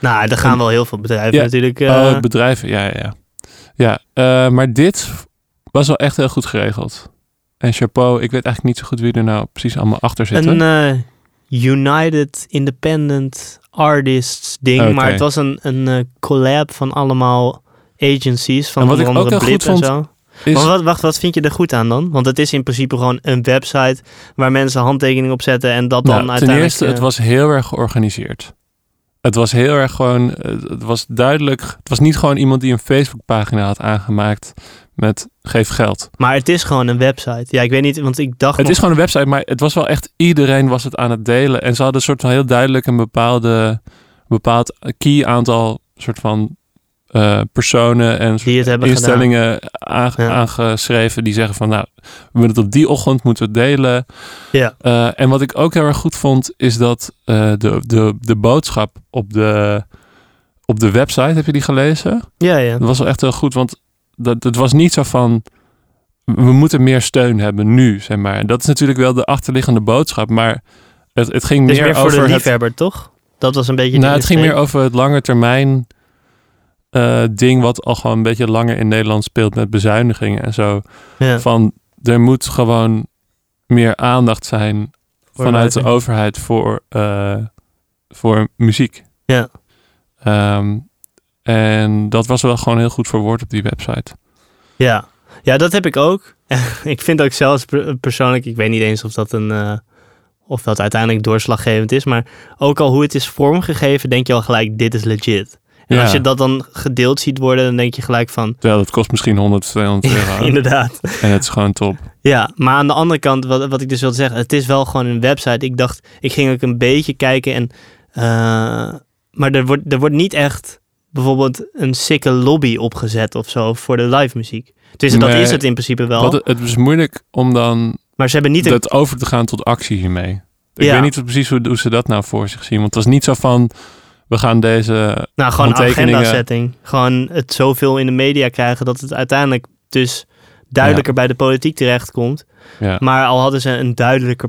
[SPEAKER 2] Nou, er gaan wel heel veel bedrijven
[SPEAKER 1] Ja.
[SPEAKER 2] natuurlijk.
[SPEAKER 1] Oh,
[SPEAKER 2] eh,
[SPEAKER 1] het bedrijf, ja, ja, ja. Ja, eh, maar dit was wel echt heel goed geregeld. En chapeau, ik weet eigenlijk niet zo goed wie er nou precies allemaal achter zitten.
[SPEAKER 2] Een eh, United Independent Artists ding.
[SPEAKER 1] Oké.
[SPEAKER 2] Maar het was een, een eh, collab van allemaal agencies. Van
[SPEAKER 1] En wat
[SPEAKER 2] onder
[SPEAKER 1] ik ook heel
[SPEAKER 2] andere Blip
[SPEAKER 1] goed vond,
[SPEAKER 2] en zo.
[SPEAKER 1] is,
[SPEAKER 2] Maar wat, wacht, wat vind je er goed aan dan? Want het is in principe gewoon een website waar mensen handtekeningen op zetten. En dat dan
[SPEAKER 1] nou, ten
[SPEAKER 2] uiteindelijk...
[SPEAKER 1] eerste,
[SPEAKER 2] eh,
[SPEAKER 1] het was heel erg georganiseerd. Het was heel erg gewoon, eh, het was duidelijk, het was niet gewoon iemand die een Facebookpagina had aangemaakt met geef geld.
[SPEAKER 2] Maar het is gewoon een website. Ja, ik weet niet, want ik dacht
[SPEAKER 1] Het
[SPEAKER 2] nog-
[SPEAKER 1] is gewoon een website, maar het was wel echt iedereen was het aan het delen. En ze hadden een soort van heel duidelijk een bepaalde, bepaald key aantal soort van eh, personen en soort
[SPEAKER 2] die het hebben gedaan.
[SPEAKER 1] instellingen aange-
[SPEAKER 2] Ja.
[SPEAKER 1] aangeschreven die zeggen van nou, we moeten het op die ochtend moeten we delen.
[SPEAKER 2] Ja.
[SPEAKER 1] Eh, en wat ik ook heel erg goed vond, is dat eh, de, de, de boodschap op de, op de website, heb je die gelezen?
[SPEAKER 2] Ja, ja.
[SPEAKER 1] Dat was wel echt heel goed, want dat, het was niet zo van... We moeten meer steun hebben nu, zeg maar. En Dat is natuurlijk wel de achterliggende boodschap, maar het, het ging
[SPEAKER 2] Het is
[SPEAKER 1] meer,
[SPEAKER 2] meer voor
[SPEAKER 1] over...
[SPEAKER 2] de
[SPEAKER 1] het,
[SPEAKER 2] liefhebber, toch? Dat was een beetje... de E
[SPEAKER 1] nou, het ging meer
[SPEAKER 2] insteek.
[SPEAKER 1] over het lange termijn eh, ding... wat al gewoon een beetje langer in Nederland speelt met bezuinigingen en zo.
[SPEAKER 2] Ja.
[SPEAKER 1] Van, er moet gewoon meer aandacht zijn
[SPEAKER 2] Voor
[SPEAKER 1] vanuit de
[SPEAKER 2] muziek.
[SPEAKER 1] overheid voor, eh, voor muziek.
[SPEAKER 2] Ja.
[SPEAKER 1] Ehm, en dat was wel gewoon heel goed verwoord op die website.
[SPEAKER 2] Ja. Ja, dat heb ik ook. ik vind ook zelfs per- persoonlijk, ik weet niet eens of dat een. eh, of dat uiteindelijk doorslaggevend is. Maar ook al hoe het is vormgegeven, denk je al gelijk: dit is legit. En
[SPEAKER 1] Ja.
[SPEAKER 2] als je dat dan gedeeld ziet worden, dan denk je gelijk van.
[SPEAKER 1] Terwijl dat kost misschien 100, 200 euro.
[SPEAKER 2] Inderdaad.
[SPEAKER 1] en het is gewoon top.
[SPEAKER 2] Ja, maar aan de andere kant, wat, wat ik dus wilde zeggen, het is wel gewoon een website. Ik dacht, ik ging ook een beetje kijken en. eh, maar er wordt, er wordt niet echt bijvoorbeeld een sikke lobby opgezet of zo voor de live muziek. Dus dat
[SPEAKER 1] Nee.
[SPEAKER 2] is het in principe wel.
[SPEAKER 1] Want het, het is moeilijk om dan
[SPEAKER 2] maar ze hebben niet een
[SPEAKER 1] dat over te gaan tot actie hiermee. Ik
[SPEAKER 2] Ja.
[SPEAKER 1] weet niet precies hoe, hoe ze dat nou voor zich zien. Want het was niet zo van, we gaan deze...
[SPEAKER 2] Nou, gewoon
[SPEAKER 1] Gewoon tekeningen.
[SPEAKER 2] agenda-setting. Gewoon het zoveel in de media krijgen dat het uiteindelijk dus duidelijker bij de politiek terechtkomt.
[SPEAKER 1] Ja,
[SPEAKER 2] Maar al hadden ze een duidelijker,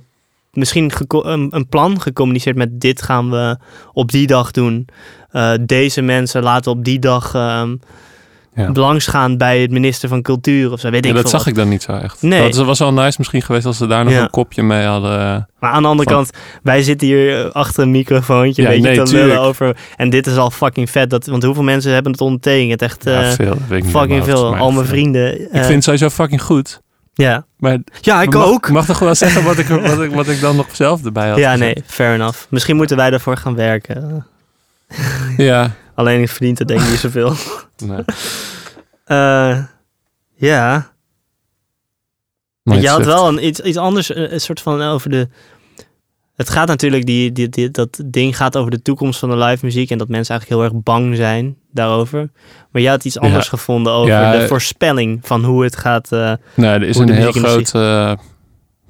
[SPEAKER 2] misschien geko- een, een plan gecommuniceerd met dit gaan we op die dag doen. Eh, deze mensen laten we op die dag ehm
[SPEAKER 1] Ja.
[SPEAKER 2] langsgaan bij het minister van Cultuur of zo. Weet
[SPEAKER 1] Ja,
[SPEAKER 2] ik
[SPEAKER 1] dat
[SPEAKER 2] veel
[SPEAKER 1] zag
[SPEAKER 2] wat.
[SPEAKER 1] ik dan niet zo echt.
[SPEAKER 2] Nee.
[SPEAKER 1] Dat was wel nice misschien geweest als ze daar nog
[SPEAKER 2] Ja.
[SPEAKER 1] een kopje mee hadden.
[SPEAKER 2] Maar aan de andere
[SPEAKER 1] Van-
[SPEAKER 2] kant, wij zitten hier eh, achter een microfoontje
[SPEAKER 1] Ja,
[SPEAKER 2] een beetje
[SPEAKER 1] nee,
[SPEAKER 2] te lullen
[SPEAKER 1] tuurlijk.
[SPEAKER 2] over. En dit is al fucking vet. Dat, want hoeveel mensen hebben het ondertekend? Echt eh,
[SPEAKER 1] ja, veel. dat weet ik niet uit mijn
[SPEAKER 2] fucking
[SPEAKER 1] hoofd,
[SPEAKER 2] veel.
[SPEAKER 1] maar
[SPEAKER 2] Al mijn
[SPEAKER 1] veel.
[SPEAKER 2] vrienden. eh,
[SPEAKER 1] Ik vind het sowieso fucking goed.
[SPEAKER 2] Ja.
[SPEAKER 1] Maar
[SPEAKER 2] Ja, ik
[SPEAKER 1] mag,
[SPEAKER 2] ook.
[SPEAKER 1] Mag toch wel zeggen wat ik, wat, ik, wat ik dan nog zelf erbij had
[SPEAKER 2] ja, nee,
[SPEAKER 1] gezet?
[SPEAKER 2] fair enough. Misschien moeten wij daarvoor gaan werken.
[SPEAKER 1] Ja,
[SPEAKER 2] Alleen ik verdient het denk ik niet zoveel.
[SPEAKER 1] nee.
[SPEAKER 2] Eh, ja.
[SPEAKER 1] Nooit
[SPEAKER 2] je had
[SPEAKER 1] zegt.
[SPEAKER 2] wel een, iets, iets anders, eh, een, een soort van over de... Het gaat natuurlijk, die, die, die- dat ding gaat over de toekomst van de live muziek. En dat mensen eigenlijk heel erg bang zijn daarover. Maar jij had iets anders gevonden over
[SPEAKER 1] Ja,
[SPEAKER 2] de
[SPEAKER 1] eh,
[SPEAKER 2] voorspelling van hoe het gaat. eh
[SPEAKER 1] Nee, er is
[SPEAKER 2] Hoe
[SPEAKER 1] een
[SPEAKER 2] de
[SPEAKER 1] heel
[SPEAKER 2] muziekindustrie-
[SPEAKER 1] grote, eh,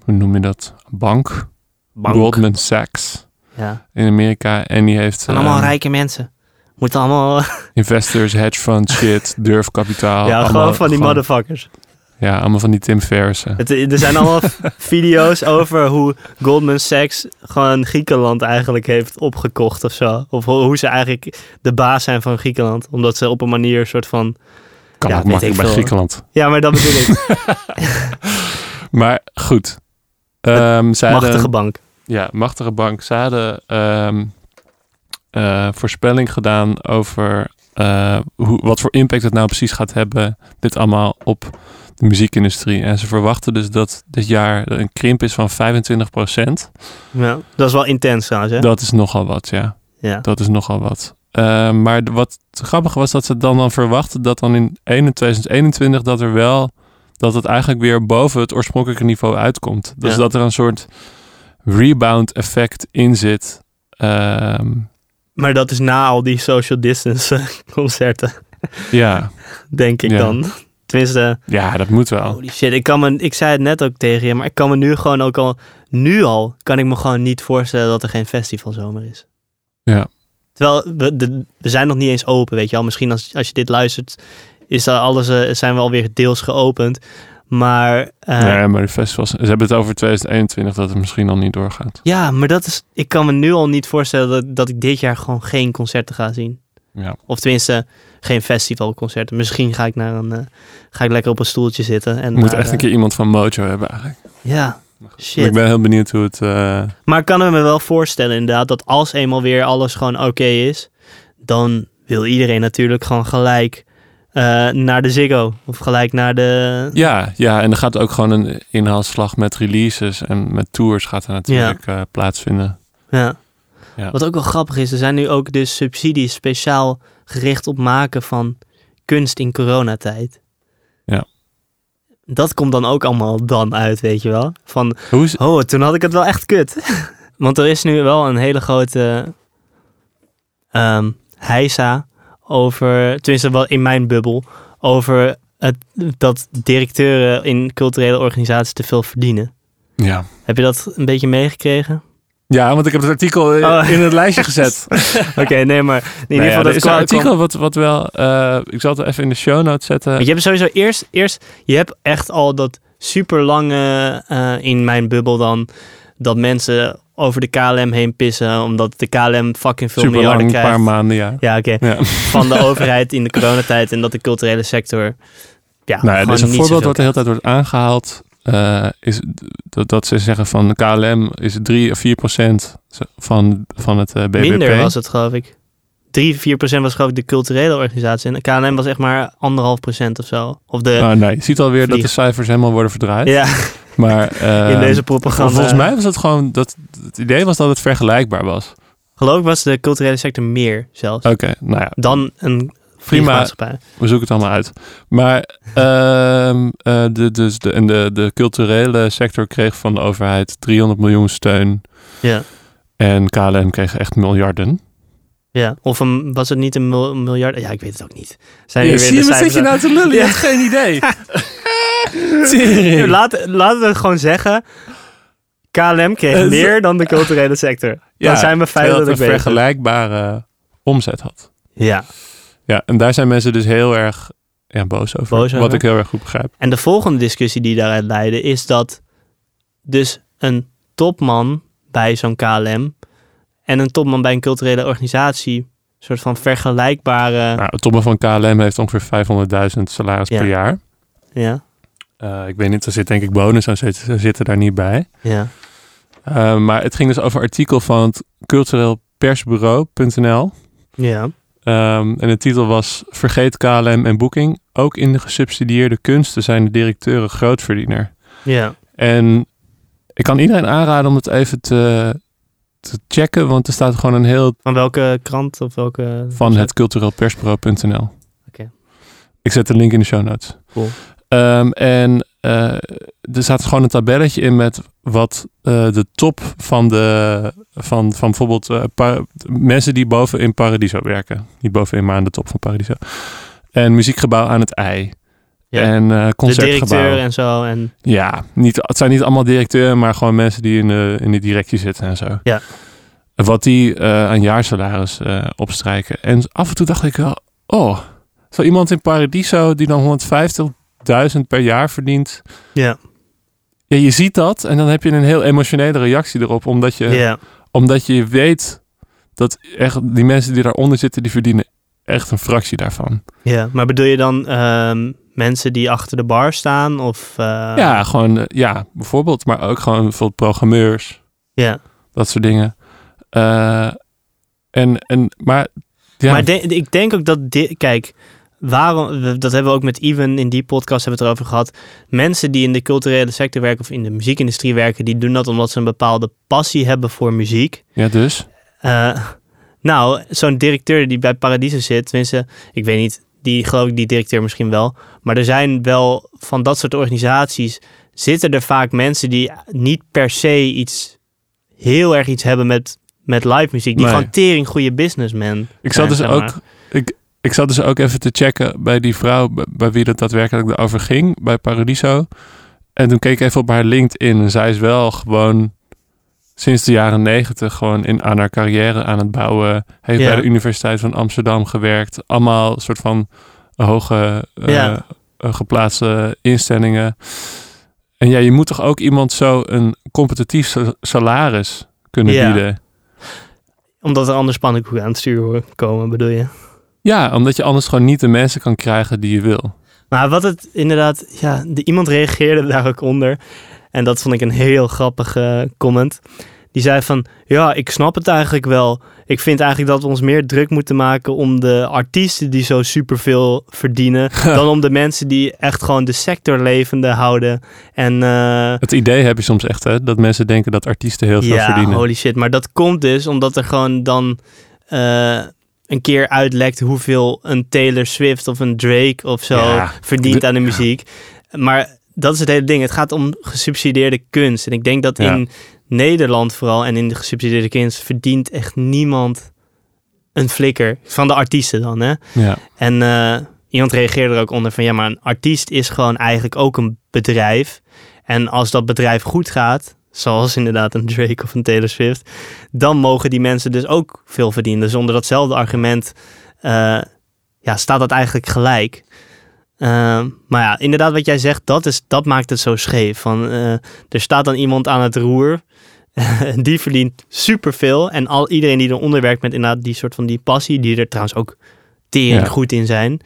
[SPEAKER 1] hoe noem je dat? Bank.
[SPEAKER 2] bank.
[SPEAKER 1] Goldman Sachs
[SPEAKER 2] Ja. Het
[SPEAKER 1] in Amerika. En die heeft
[SPEAKER 2] zijn allemaal
[SPEAKER 1] eh,
[SPEAKER 2] rijke mensen. Moeten allemaal...
[SPEAKER 1] investors, hedge fund, shit, durfkapitaal.
[SPEAKER 2] ja,
[SPEAKER 1] allemaal-
[SPEAKER 2] gewoon van die motherfuckers.
[SPEAKER 1] Ja, allemaal van die Tim Ferrissen.
[SPEAKER 2] Het, er zijn allemaal video's over hoe Goldman Sachs gewoon Griekenland eigenlijk heeft opgekocht of zo. Of ho- hoe ze eigenlijk de baas zijn van Griekenland. Omdat ze op een manier een soort van...
[SPEAKER 1] Kan
[SPEAKER 2] ja,
[SPEAKER 1] ook
[SPEAKER 2] weet
[SPEAKER 1] makkelijk
[SPEAKER 2] ik
[SPEAKER 1] bij
[SPEAKER 2] veel.
[SPEAKER 1] Griekenland.
[SPEAKER 2] Ja, maar dat bedoel ik.
[SPEAKER 1] Maar goed. Ehm zij hadden-
[SPEAKER 2] Machtige bank.
[SPEAKER 1] ja, machtige bank. Ze hadden ehm, eh, voorspelling gedaan over eh, hoe, wat voor impact het nou precies gaat hebben. Dit allemaal op de muziekindustrie. En ze verwachten dus dat dit jaar een krimp is van 25
[SPEAKER 2] Ja, dat is wel intens trouwens, hè?
[SPEAKER 1] Dat is nogal wat, ja.
[SPEAKER 2] ja.
[SPEAKER 1] Dat is nogal wat. Eh, maar d- wat grappig was dat ze dan dan verwachten dat dan in 1 2021 dat er wel dat het eigenlijk weer boven het oorspronkelijke niveau uitkomt. Dus
[SPEAKER 2] Ja.
[SPEAKER 1] dat er een soort rebound effect in zit. Ehm,
[SPEAKER 2] Maar dat is na al die social distance eh, concerten,
[SPEAKER 1] ja.
[SPEAKER 2] denk ik
[SPEAKER 1] Ja.
[SPEAKER 2] dan. Tenminste,
[SPEAKER 1] ja, dat moet wel.
[SPEAKER 2] holy shit, ik, kan me, ik zei het net ook tegen je, maar ik kan me nu gewoon ook al... Nu al kan ik me gewoon niet voorstellen dat er geen festivalzomer is.
[SPEAKER 1] Ja.
[SPEAKER 2] Terwijl we, de- we zijn nog niet eens open, weet je wel. Misschien als, als je dit luistert, is dat alles, eh, zijn we alweer deels geopend. Maar eh,
[SPEAKER 1] nee, maar de festivals, ze hebben het over 2021 dat het misschien al niet doorgaat.
[SPEAKER 2] ja, maar dat is, ik kan me nu al niet voorstellen dat, dat ik dit jaar gewoon geen concerten ga zien.
[SPEAKER 1] Ja.
[SPEAKER 2] Of tenminste, geen festivalconcerten. Misschien ga ik, naar een, eh, ga ik lekker op een stoeltje zitten. En
[SPEAKER 1] We moeten
[SPEAKER 2] daar,
[SPEAKER 1] echt een
[SPEAKER 2] eh,
[SPEAKER 1] keer iemand van Mojo hebben eigenlijk.
[SPEAKER 2] Ja,
[SPEAKER 1] Maar Ik
[SPEAKER 2] shit.
[SPEAKER 1] ben heel benieuwd hoe het... eh,
[SPEAKER 2] Maar ik kan er me wel voorstellen inderdaad dat als eenmaal weer alles gewoon oké is, dan wil iedereen natuurlijk gewoon gelijk eh, naar de Ziggo. Of gelijk naar de...
[SPEAKER 1] Ja, ja, en er gaat ook gewoon een inhaalslag met releases en met tours gaat er natuurlijk eh, plaatsvinden.
[SPEAKER 2] Ja.
[SPEAKER 1] Ja.
[SPEAKER 2] Wat ook wel grappig is, er zijn nu ook dus subsidies speciaal gericht op maken van kunst in coronatijd.
[SPEAKER 1] Ja.
[SPEAKER 2] Dat komt dan ook allemaal dan uit, weet je wel. Van,
[SPEAKER 1] Hoe is,
[SPEAKER 2] oh, toen had ik het wel echt kut. Want er is nu wel een hele grote ehm heisa over, tenminste wel in mijn bubbel, over het, dat directeuren in culturele organisaties te veel verdienen.
[SPEAKER 1] ja.
[SPEAKER 2] Heb je dat een beetje meegekregen?
[SPEAKER 1] ja, want ik heb het artikel in,
[SPEAKER 2] Oh.
[SPEAKER 1] in het lijstje gezet. In
[SPEAKER 2] Oké, nee, maar in ieder geval dat
[SPEAKER 1] Nou is een
[SPEAKER 2] kwam- kwam-
[SPEAKER 1] artikel wat, wat wel... eh, ik zal het even in de show notes zetten.
[SPEAKER 2] Want je hebt sowieso eerst, eerst, je hebt echt al dat super lange eh, in mijn bubbel dan, dat mensen over de KLM heen pissen, omdat de KLM fucking
[SPEAKER 1] Super
[SPEAKER 2] veel
[SPEAKER 1] lang,
[SPEAKER 2] miljarden
[SPEAKER 1] een
[SPEAKER 2] krijgt.
[SPEAKER 1] paar maanden, ja.
[SPEAKER 2] ja, oké.
[SPEAKER 1] Ja.
[SPEAKER 2] Van de overheid in de coronatijd en dat de culturele sector, ja,
[SPEAKER 1] Nou, ja,
[SPEAKER 2] gewoon
[SPEAKER 1] er is een
[SPEAKER 2] niet
[SPEAKER 1] voorbeeld
[SPEAKER 2] zoveel
[SPEAKER 1] wat de hele tijd wordt aangehaald. eh, is d- dat, dat ze zeggen van de KLM is 3 of 4 procent van, van het eh, BBP.
[SPEAKER 2] Minder was het, geloof ik. 3, 4 procent was geloof ik de culturele organisatie. En KLM was echt maar anderhalf procent of zo. Of de,
[SPEAKER 1] Nou, nee, je ziet alweer dat
[SPEAKER 2] eh, Vliegen.
[SPEAKER 1] de cijfers helemaal worden verdraaid.
[SPEAKER 2] ja,
[SPEAKER 1] Maar eh,
[SPEAKER 2] in deze propaganda.
[SPEAKER 1] volgens mij was het gewoon dat het idee was dat het vergelijkbaar was.
[SPEAKER 2] Geloof ik was de culturele sector meer zelfs.
[SPEAKER 1] Oké, nou ja,
[SPEAKER 2] Dan een
[SPEAKER 1] prima.
[SPEAKER 2] vliegmaatschappij.
[SPEAKER 1] We zoeken het allemaal uit. Maar ehm, eh, de, dus de, en de, de culturele sector kreeg van de overheid 300 miljoen steun.
[SPEAKER 2] Ja.
[SPEAKER 1] En KLM kreeg echt miljarden.
[SPEAKER 2] ja. Of een, was het niet een mil- miljard? Ja, ik weet het ook niet. Zijn hier weer de
[SPEAKER 1] wat nou
[SPEAKER 2] cijfers aan-
[SPEAKER 1] te lullen?
[SPEAKER 2] Ja.
[SPEAKER 1] hebt geen idee.
[SPEAKER 2] Hier,
[SPEAKER 1] Tering.
[SPEAKER 2] Laat, laten we het gewoon zeggen. KLM
[SPEAKER 1] Eh,
[SPEAKER 2] kreeg meer dan de culturele sector.
[SPEAKER 1] Ja,
[SPEAKER 2] dan zijn
[SPEAKER 1] Terwijl
[SPEAKER 2] we
[SPEAKER 1] het
[SPEAKER 2] feitelijk
[SPEAKER 1] een
[SPEAKER 2] beter.
[SPEAKER 1] vergelijkbare omzet had.
[SPEAKER 2] Ja.
[SPEAKER 1] Ja, en daar zijn mensen dus heel erg ja, boos over.
[SPEAKER 2] Boos
[SPEAKER 1] Wat
[SPEAKER 2] over?
[SPEAKER 1] ik heel erg goed begrijp.
[SPEAKER 2] En de volgende discussie die daaruit leidde is dat dus een topman bij zo'n KLM en een topman bij een culturele organisatie een soort van vergelijkbare...
[SPEAKER 1] Nou, het topman van KLM heeft ongeveer 500.000 salaris
[SPEAKER 2] Ja.
[SPEAKER 1] per jaar.
[SPEAKER 2] Ja,
[SPEAKER 1] Eh, ik weet niet, er zit denk ik bonus aan zitten, ze zitten daar niet bij.
[SPEAKER 2] ja,
[SPEAKER 1] Eh, maar het ging dus over een artikel van het cultureel persbureau.nl.
[SPEAKER 2] ja.
[SPEAKER 1] Ehm, en de titel was Vergeet KLM en Booking. Ook in de gesubsidieerde kunsten zijn de directeuren grootverdiener.
[SPEAKER 2] Ja,
[SPEAKER 1] En ik kan iedereen aanraden om het even te, te checken. Want er staat gewoon een heel
[SPEAKER 2] van welke krant of welke...
[SPEAKER 1] van het cultureel persbureau.nl.
[SPEAKER 2] Oké.
[SPEAKER 1] Ik zet de link in de show notes.
[SPEAKER 2] Cool.
[SPEAKER 1] Ehm, en eh, er staat gewoon een tabelletje in met wat eh, de top van de van, van bijvoorbeeld eh, pa- mensen die boven in Paradiso werken. Niet bovenin, maar aan de top van Paradiso. En muziekgebouw aan het ei.
[SPEAKER 2] Ja.
[SPEAKER 1] En eh,
[SPEAKER 2] de
[SPEAKER 1] concertgebouw.
[SPEAKER 2] directeur en zo. En,
[SPEAKER 1] Ja, niet, het zijn niet allemaal directeuren, maar gewoon mensen die in de, in de directie zitten en zo.
[SPEAKER 2] Ja.
[SPEAKER 1] Wat die eh, aan jaarsalaris eh, opstrijken. En af en toe dacht ik wel, oh, zo iemand in Paradiso die dan 150.000 per jaar verdient.
[SPEAKER 2] ja,
[SPEAKER 1] Ja, je ziet dat en dan heb je een heel emotionele reactie erop, omdat je,
[SPEAKER 2] ja,
[SPEAKER 1] omdat je weet dat echt die mensen die daaronder zitten, die verdienen echt een fractie daarvan.
[SPEAKER 2] ja. Maar bedoel je dan ehm, mensen die achter de bar staan of... eh,
[SPEAKER 1] ja, gewoon, eh, ja, bijvoorbeeld, maar ook gewoon bijvoorbeeld programmeurs.
[SPEAKER 2] ja.
[SPEAKER 1] dat soort dingen. Eh, en, en, maar, ja,
[SPEAKER 2] Maar de- ik denk ook dat dit, kijk, waarom, we- dat hebben we ook met Even in die podcast hebben we het erover gehad. Mensen die in de culturele sector werken of in de muziekindustrie werken, die doen dat omdat ze een bepaalde passie hebben voor muziek.
[SPEAKER 1] ja, dus.
[SPEAKER 2] Eh, nou, zo'n directeur die bij Paradiso zit, tenminste, ik weet niet, die geloof ik die directeur misschien wel. Maar er zijn wel van dat soort organisaties, zitten er vaak mensen die niet per se iets, heel erg iets hebben met, met live muziek. Die
[SPEAKER 1] Nee.
[SPEAKER 2] gewoon tering goede businessmen.
[SPEAKER 1] Ik zat
[SPEAKER 2] zijn,
[SPEAKER 1] dus
[SPEAKER 2] zeg maar.
[SPEAKER 1] ook, ik, ik zat dus ook even te checken bij die vrouw bij, bij wie dat daadwerkelijk over ging, bij Paradiso. En toen keek ik even op haar LinkedIn en zij is wel gewoon sinds de jaren negentig gewoon in, aan haar carrière aan het bouwen. Heeft
[SPEAKER 2] Ja.
[SPEAKER 1] bij de Universiteit van Amsterdam gewerkt. Allemaal soort van hoge eh,
[SPEAKER 2] Ja.
[SPEAKER 1] eh, geplaatste instellingen. En ja, je moet toch ook iemand zo een competitief sa- salaris kunnen
[SPEAKER 2] Ja.
[SPEAKER 1] bieden.
[SPEAKER 2] Omdat er anders pannenkoeken aan het sturen komen, bedoel je?
[SPEAKER 1] Ja, omdat je anders gewoon niet de mensen kan krijgen die je wil.
[SPEAKER 2] Maar wat het inderdaad... Ja, de, iemand reageerde daar ook onder. En dat vond ik een heel grappige comment. Die zei van... Ja, ik snap het eigenlijk wel. Ik vind eigenlijk dat we ons meer druk moeten maken... om de artiesten die zo superveel verdienen... dan om de mensen die echt gewoon de sector levende houden. En... eh,
[SPEAKER 1] Het idee heb je soms echt, hè, dat mensen denken dat artiesten heel veel
[SPEAKER 2] ja,
[SPEAKER 1] verdienen.
[SPEAKER 2] holy shit. Maar dat komt dus omdat er gewoon dan eh, een keer uitlekt hoeveel een Taylor Swift of een Drake of zo
[SPEAKER 1] Ja.
[SPEAKER 2] verdient
[SPEAKER 1] De-
[SPEAKER 2] aan de muziek. Maar dat is het hele ding. Het gaat om gesubsidieerde kunst. En ik denk dat
[SPEAKER 1] Ja.
[SPEAKER 2] in Nederland vooral en in de gesubsidieerde kunst verdient echt niemand een flikker. Van de artiesten dan, hè?
[SPEAKER 1] Ja,
[SPEAKER 2] En eh, iemand reageerde er ook onder van ja, maar een artiest is gewoon eigenlijk ook een bedrijf. En als dat bedrijf goed gaat, zoals inderdaad een Drake of een Taylor Swift, dan mogen die mensen dus ook veel verdienen. Dus onder datzelfde argument eh, ja, staat dat eigenlijk gelijk. Ehm, maar ja, inderdaad wat jij zegt, dat, is, dat maakt het zo scheef. Van, eh, er staat dan iemand aan het roer, die verdient superveel. En al, iedereen die eronder werkt met inderdaad die soort van die passie, die er trouwens ook tering
[SPEAKER 1] Ja.
[SPEAKER 2] goed in zijn,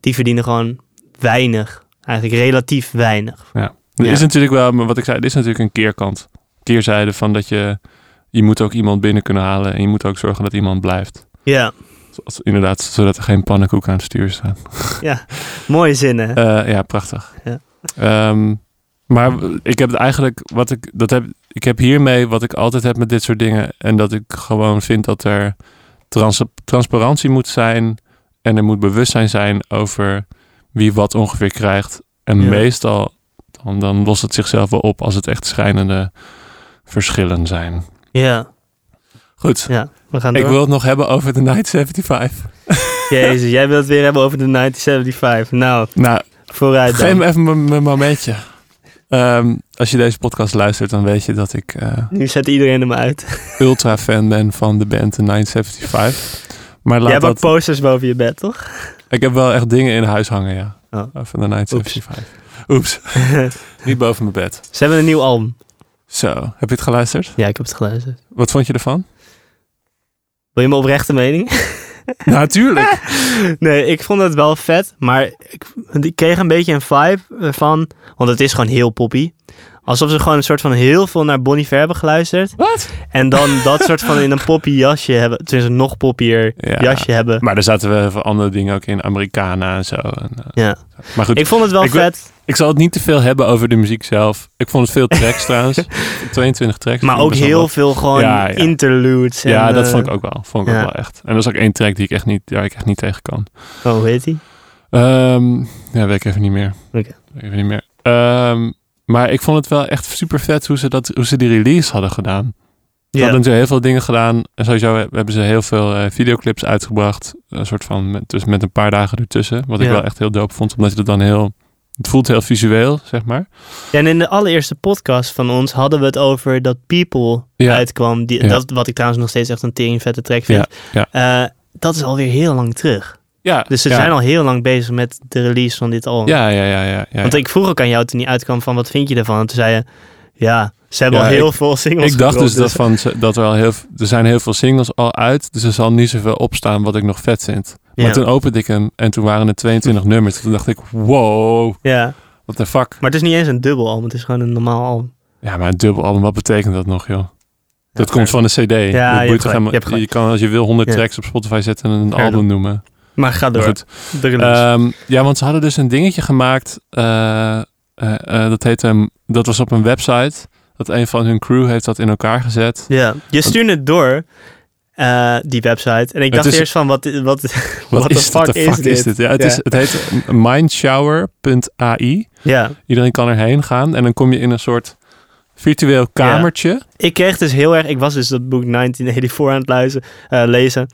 [SPEAKER 2] die verdienen gewoon weinig. Eigenlijk relatief weinig.
[SPEAKER 1] er
[SPEAKER 2] Ja.
[SPEAKER 1] is natuurlijk wel, maar wat ik zei, er is natuurlijk een keerkant. Keerzijde van dat je, je moet ook iemand binnen kunnen halen en je moet ook zorgen dat iemand blijft.
[SPEAKER 2] Ja,
[SPEAKER 1] Dus Als- Inderdaad, zodat er geen pannenkoek aan het stuur staat.
[SPEAKER 2] Mooie zinnen.
[SPEAKER 1] Eh, ja, prachtig.
[SPEAKER 2] Ja.
[SPEAKER 1] Ehm, maar w- ik heb het eigenlijk, wat ik, dat heb, ik heb hiermee wat ik altijd heb met dit soort dingen. En dat ik gewoon vind dat er trans- transparantie moet zijn. En er moet bewustzijn zijn over wie wat ongeveer krijgt. En
[SPEAKER 2] Ja.
[SPEAKER 1] meestal, dan, dan lost het zichzelf wel op als het echt schrijnende verschillen zijn.
[SPEAKER 2] Ja,
[SPEAKER 1] Goed,
[SPEAKER 2] ja. We gaan
[SPEAKER 1] ik
[SPEAKER 2] door.
[SPEAKER 1] wil het nog hebben over de Night 75.
[SPEAKER 2] Jezus, jij wilt het weer hebben over de 1975. Nou,
[SPEAKER 1] Nou,
[SPEAKER 2] vooruit dan.
[SPEAKER 1] Geef me even mijn- mijn momentje. Ehm, als je deze podcast luistert, dan weet je dat ik eh,
[SPEAKER 2] Nu zet iedereen hem uit.
[SPEAKER 1] ultra fan ben van de band The 975. Maar
[SPEAKER 2] jij
[SPEAKER 1] laat
[SPEAKER 2] hebt ook
[SPEAKER 1] dat,
[SPEAKER 2] posters boven je bed, toch?
[SPEAKER 1] ik heb wel echt dingen in huis hangen, ja. Eh,
[SPEAKER 2] Oh.
[SPEAKER 1] Van de 975. Oeps. Niet boven mijn bed.
[SPEAKER 2] Ze hebben een nieuw album.
[SPEAKER 1] Zo, heb je het geluisterd?
[SPEAKER 2] Ja, ik heb het geluisterd.
[SPEAKER 1] Wat vond je ervan?
[SPEAKER 2] Wil je mijn oprechte mening?
[SPEAKER 1] Natuurlijk.
[SPEAKER 2] Nee, ik vond het wel vet, maar ik, ik kreeg een beetje een vibe eh, van, want het is gewoon heel poppy. Alsof ze gewoon een soort van heel veel naar Bonnie Ver hebben geluisterd.
[SPEAKER 1] Wat?
[SPEAKER 2] En dan dat soort van in een poppy jasje hebben, tenminste een nog poppier
[SPEAKER 1] Ja.
[SPEAKER 2] jasje hebben.
[SPEAKER 1] Maar daar zaten we even andere dingen ook in, Americana en zo. En, eh,
[SPEAKER 2] Ja.
[SPEAKER 1] maar goed,
[SPEAKER 2] Ik
[SPEAKER 1] ik,
[SPEAKER 2] vond het wel
[SPEAKER 1] Ik wil-
[SPEAKER 2] vet,
[SPEAKER 1] zal het niet te veel hebben over de muziek zelf. Ik vond het veel tracks trouwens. 22 tracks.
[SPEAKER 2] maar
[SPEAKER 1] Vond ik
[SPEAKER 2] ook
[SPEAKER 1] best wel
[SPEAKER 2] heel
[SPEAKER 1] wat.
[SPEAKER 2] veel gewoon
[SPEAKER 1] Ja, ja.
[SPEAKER 2] interludes. En,
[SPEAKER 1] Ja, dat
[SPEAKER 2] eh,
[SPEAKER 1] vond ik ook wel. Vond ik
[SPEAKER 2] ja.
[SPEAKER 1] ook wel echt. En dat is ook één track die ik echt niet, waar ik echt niet tegen kan.
[SPEAKER 2] Oh, hoe heet die?
[SPEAKER 1] Ehm, ja, weet ik even niet meer.
[SPEAKER 2] Oké.
[SPEAKER 1] Weet ik even niet meer. Ehm, maar ik vond het wel echt super vet hoe ze, dat, hoe ze die release hadden gedaan. Ze hadden natuurlijk heel veel dingen gedaan. En sowieso he- hebben ze heel veel eh, videoclips uitgebracht. Een soort van, met, dus met een paar dagen ertussen. Wat ik
[SPEAKER 2] Ja.
[SPEAKER 1] wel echt heel dope vond. Omdat je dat dan heel... Het voelt heel visueel, zeg maar.
[SPEAKER 2] En in de allereerste podcast van ons hadden we het over dat People
[SPEAKER 1] Ja.
[SPEAKER 2] uitkwam. Die,
[SPEAKER 1] Ja.
[SPEAKER 2] dat, wat ik trouwens nog steeds echt een teringvette track vind. Eh, dat is alweer heel lang terug.
[SPEAKER 1] Ja,
[SPEAKER 2] Dus ze
[SPEAKER 1] ja.
[SPEAKER 2] zijn al heel lang bezig met de release van dit album.
[SPEAKER 1] Ja, ja, ja. ja, ja, ja.
[SPEAKER 2] Want ik vroeg ook aan jou toen die uitkwam van wat vind je ervan? En toen zei je, ja, ze hebben
[SPEAKER 1] Ja,
[SPEAKER 2] al heel
[SPEAKER 1] ik-
[SPEAKER 2] veel singles
[SPEAKER 1] Ik dacht
[SPEAKER 2] gedropt,
[SPEAKER 1] dus dat, van, ze- dat er al heel, v- er zijn heel veel singles al uit, dus er zal niet zoveel opstaan wat ik nog vet vind.
[SPEAKER 2] Ja.
[SPEAKER 1] Maar toen opende ik hem en toen waren er 22 nummers. Toen dacht ik, wow,
[SPEAKER 2] ja,
[SPEAKER 1] what the fuck.
[SPEAKER 2] maar het is niet eens een dubbel album. Het is gewoon een normaal album.
[SPEAKER 1] Ja, maar een dubbel album, wat betekent dat nog, joh? Dat
[SPEAKER 2] Ja,
[SPEAKER 1] komt
[SPEAKER 2] fair.
[SPEAKER 1] van een cd. Dat
[SPEAKER 2] hebt
[SPEAKER 1] boeit
[SPEAKER 2] gelijk,
[SPEAKER 1] toch helemaal-
[SPEAKER 2] je hebt gelijk.
[SPEAKER 1] je kan als je wil 100
[SPEAKER 2] Ja.
[SPEAKER 1] tracks op Spotify zetten en een
[SPEAKER 2] Fair
[SPEAKER 1] album noemen.
[SPEAKER 2] Maar ga door.
[SPEAKER 1] Maar goed,
[SPEAKER 2] De release.
[SPEAKER 1] Ehm, ja, want ze hadden dus een dingetje gemaakt. eh, eh, eh, dat, heette, hem- dat was op een website. Dat een van hun crew heeft dat in elkaar gezet.
[SPEAKER 2] ja, je stuurde het door, eh, die website. En ik dacht
[SPEAKER 1] is-
[SPEAKER 2] eerst van, wat, i- wat,
[SPEAKER 1] Wat,
[SPEAKER 2] What
[SPEAKER 1] is,
[SPEAKER 2] the
[SPEAKER 1] dit? What the fuck is dit? Ja, het,
[SPEAKER 2] Ja.
[SPEAKER 1] Is, het heet mindshower.ai.
[SPEAKER 2] ja.
[SPEAKER 1] Iedereen kan erheen gaan en dan kom je in een soort virtueel kamertje.
[SPEAKER 2] Ik kreeg dus heel erg, ik was dus dat boek 1984 aan het luisteren, eh, lezen.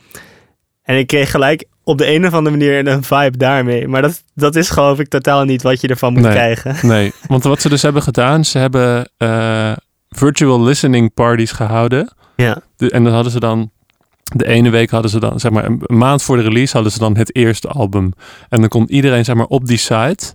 [SPEAKER 2] En ik kreeg gelijk op de een of andere manier een vibe daarmee. Maar dat, dat is geloof ik totaal niet wat je ervan moet
[SPEAKER 1] Nee.
[SPEAKER 2] krijgen.
[SPEAKER 1] Nee, want wat ze dus hebben gedaan, ze hebben eh, virtual listening parties gehouden.
[SPEAKER 2] Ja.
[SPEAKER 1] De- en dan hadden ze dan, de ene week hadden ze dan, zeg maar een een maand voor de release hadden ze dan het eerste album. En dan kon iedereen zeg maar op die site.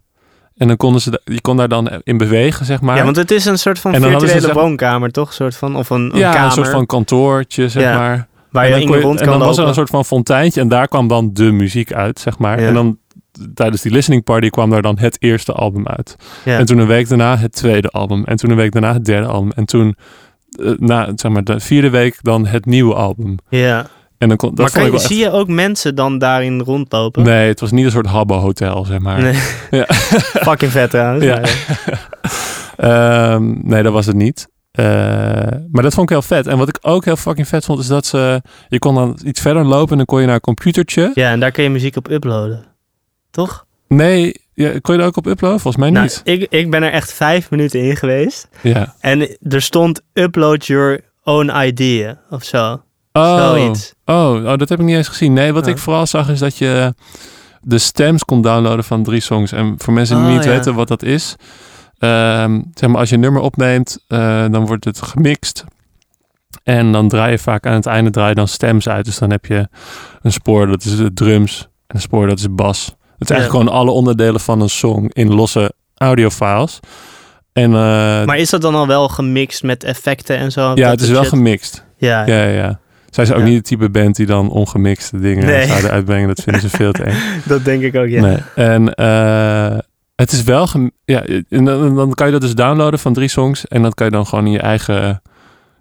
[SPEAKER 1] En dan konden ze, da- je kon daar dan in bewegen, zeg maar.
[SPEAKER 2] ja, want het is een soort van
[SPEAKER 1] En dan hadden ze
[SPEAKER 2] virtuele
[SPEAKER 1] zeg-
[SPEAKER 2] woonkamer, toch? Soort van, of een, een
[SPEAKER 1] Ja,
[SPEAKER 2] kamer
[SPEAKER 1] een soort van kantoortje, zeg
[SPEAKER 2] Ja.
[SPEAKER 1] maar.
[SPEAKER 2] waar je
[SPEAKER 1] en dan,
[SPEAKER 2] in
[SPEAKER 1] kon
[SPEAKER 2] de rond
[SPEAKER 1] en
[SPEAKER 2] kan
[SPEAKER 1] dan was er
[SPEAKER 2] lopen.
[SPEAKER 1] een soort van fonteintje en daar kwam dan de muziek uit, zeg maar.
[SPEAKER 2] Ja.
[SPEAKER 1] En dan tijdens die listening party kwam daar dan het eerste album uit.
[SPEAKER 2] Ja.
[SPEAKER 1] En toen een week daarna het tweede album. En toen een week daarna het derde album. En toen, eh, na zeg maar, de vierde week dan het nieuwe album.
[SPEAKER 2] ja.
[SPEAKER 1] En dan kon, dat
[SPEAKER 2] Maar
[SPEAKER 1] vond
[SPEAKER 2] kan
[SPEAKER 1] ik
[SPEAKER 2] je,
[SPEAKER 1] wel echt-
[SPEAKER 2] zie je ook mensen dan daarin rondlopen?
[SPEAKER 1] Nee, het was niet een soort habbo-hotel, zeg maar.
[SPEAKER 2] Nee.
[SPEAKER 1] Ja.
[SPEAKER 2] Fucking vet trouwens.
[SPEAKER 1] Ja.
[SPEAKER 2] maar-
[SPEAKER 1] Ehm, nee, dat was het niet. Eh, maar dat vond ik heel vet. En wat ik ook heel fucking vet vond, is dat ze... Je kon dan iets verder lopen en dan kon je naar een computertje.
[SPEAKER 2] ja, en daar kun je muziek op uploaden. Toch?
[SPEAKER 1] Nee, ja, kon je daar ook op uploaden? Volgens mij
[SPEAKER 2] Nou,
[SPEAKER 1] niet.
[SPEAKER 2] ik, ik ben er echt vijf minuten in geweest.
[SPEAKER 1] Ja.
[SPEAKER 2] En er stond upload your own idea of zo. Zoiets.
[SPEAKER 1] Oh, oh, dat heb ik niet eens gezien. Nee, wat
[SPEAKER 2] Oh.
[SPEAKER 1] ik vooral zag is dat je de stems kon downloaden van drie songs. En voor mensen die
[SPEAKER 2] Oh,
[SPEAKER 1] niet
[SPEAKER 2] ja.
[SPEAKER 1] weten wat dat is, ehm, zeg maar als je een nummer opneemt, eh, dan wordt het gemixt. En dan draai je vaak aan het einde draai je dan stems uit. Dus dan heb je een spoor, dat is de drums. En een spoor, dat is bas. Het is eigenlijk
[SPEAKER 2] Ja.
[SPEAKER 1] gewoon alle onderdelen van een song in losse audiofiles. En, eh,
[SPEAKER 2] Maar is dat dan al wel gemixt met effecten en zo?
[SPEAKER 1] ja,
[SPEAKER 2] Dat dus
[SPEAKER 1] het is
[SPEAKER 2] soort
[SPEAKER 1] wel
[SPEAKER 2] shit?
[SPEAKER 1] gemixt.
[SPEAKER 2] Ja,
[SPEAKER 1] Ja, ja, ja. Zij zijn ook
[SPEAKER 2] Ja.
[SPEAKER 1] niet het type band die dan ongemixte dingen
[SPEAKER 2] Nee.
[SPEAKER 1] zouden uitbrengen. Dat vinden ze veel te eng.
[SPEAKER 2] dat denk ik ook, ja.
[SPEAKER 1] Nee. En eh, het is wel... gem- Ja, en dan, dan kan je dat dus downloaden van drie songs. En dat kan je dan gewoon in je eigen...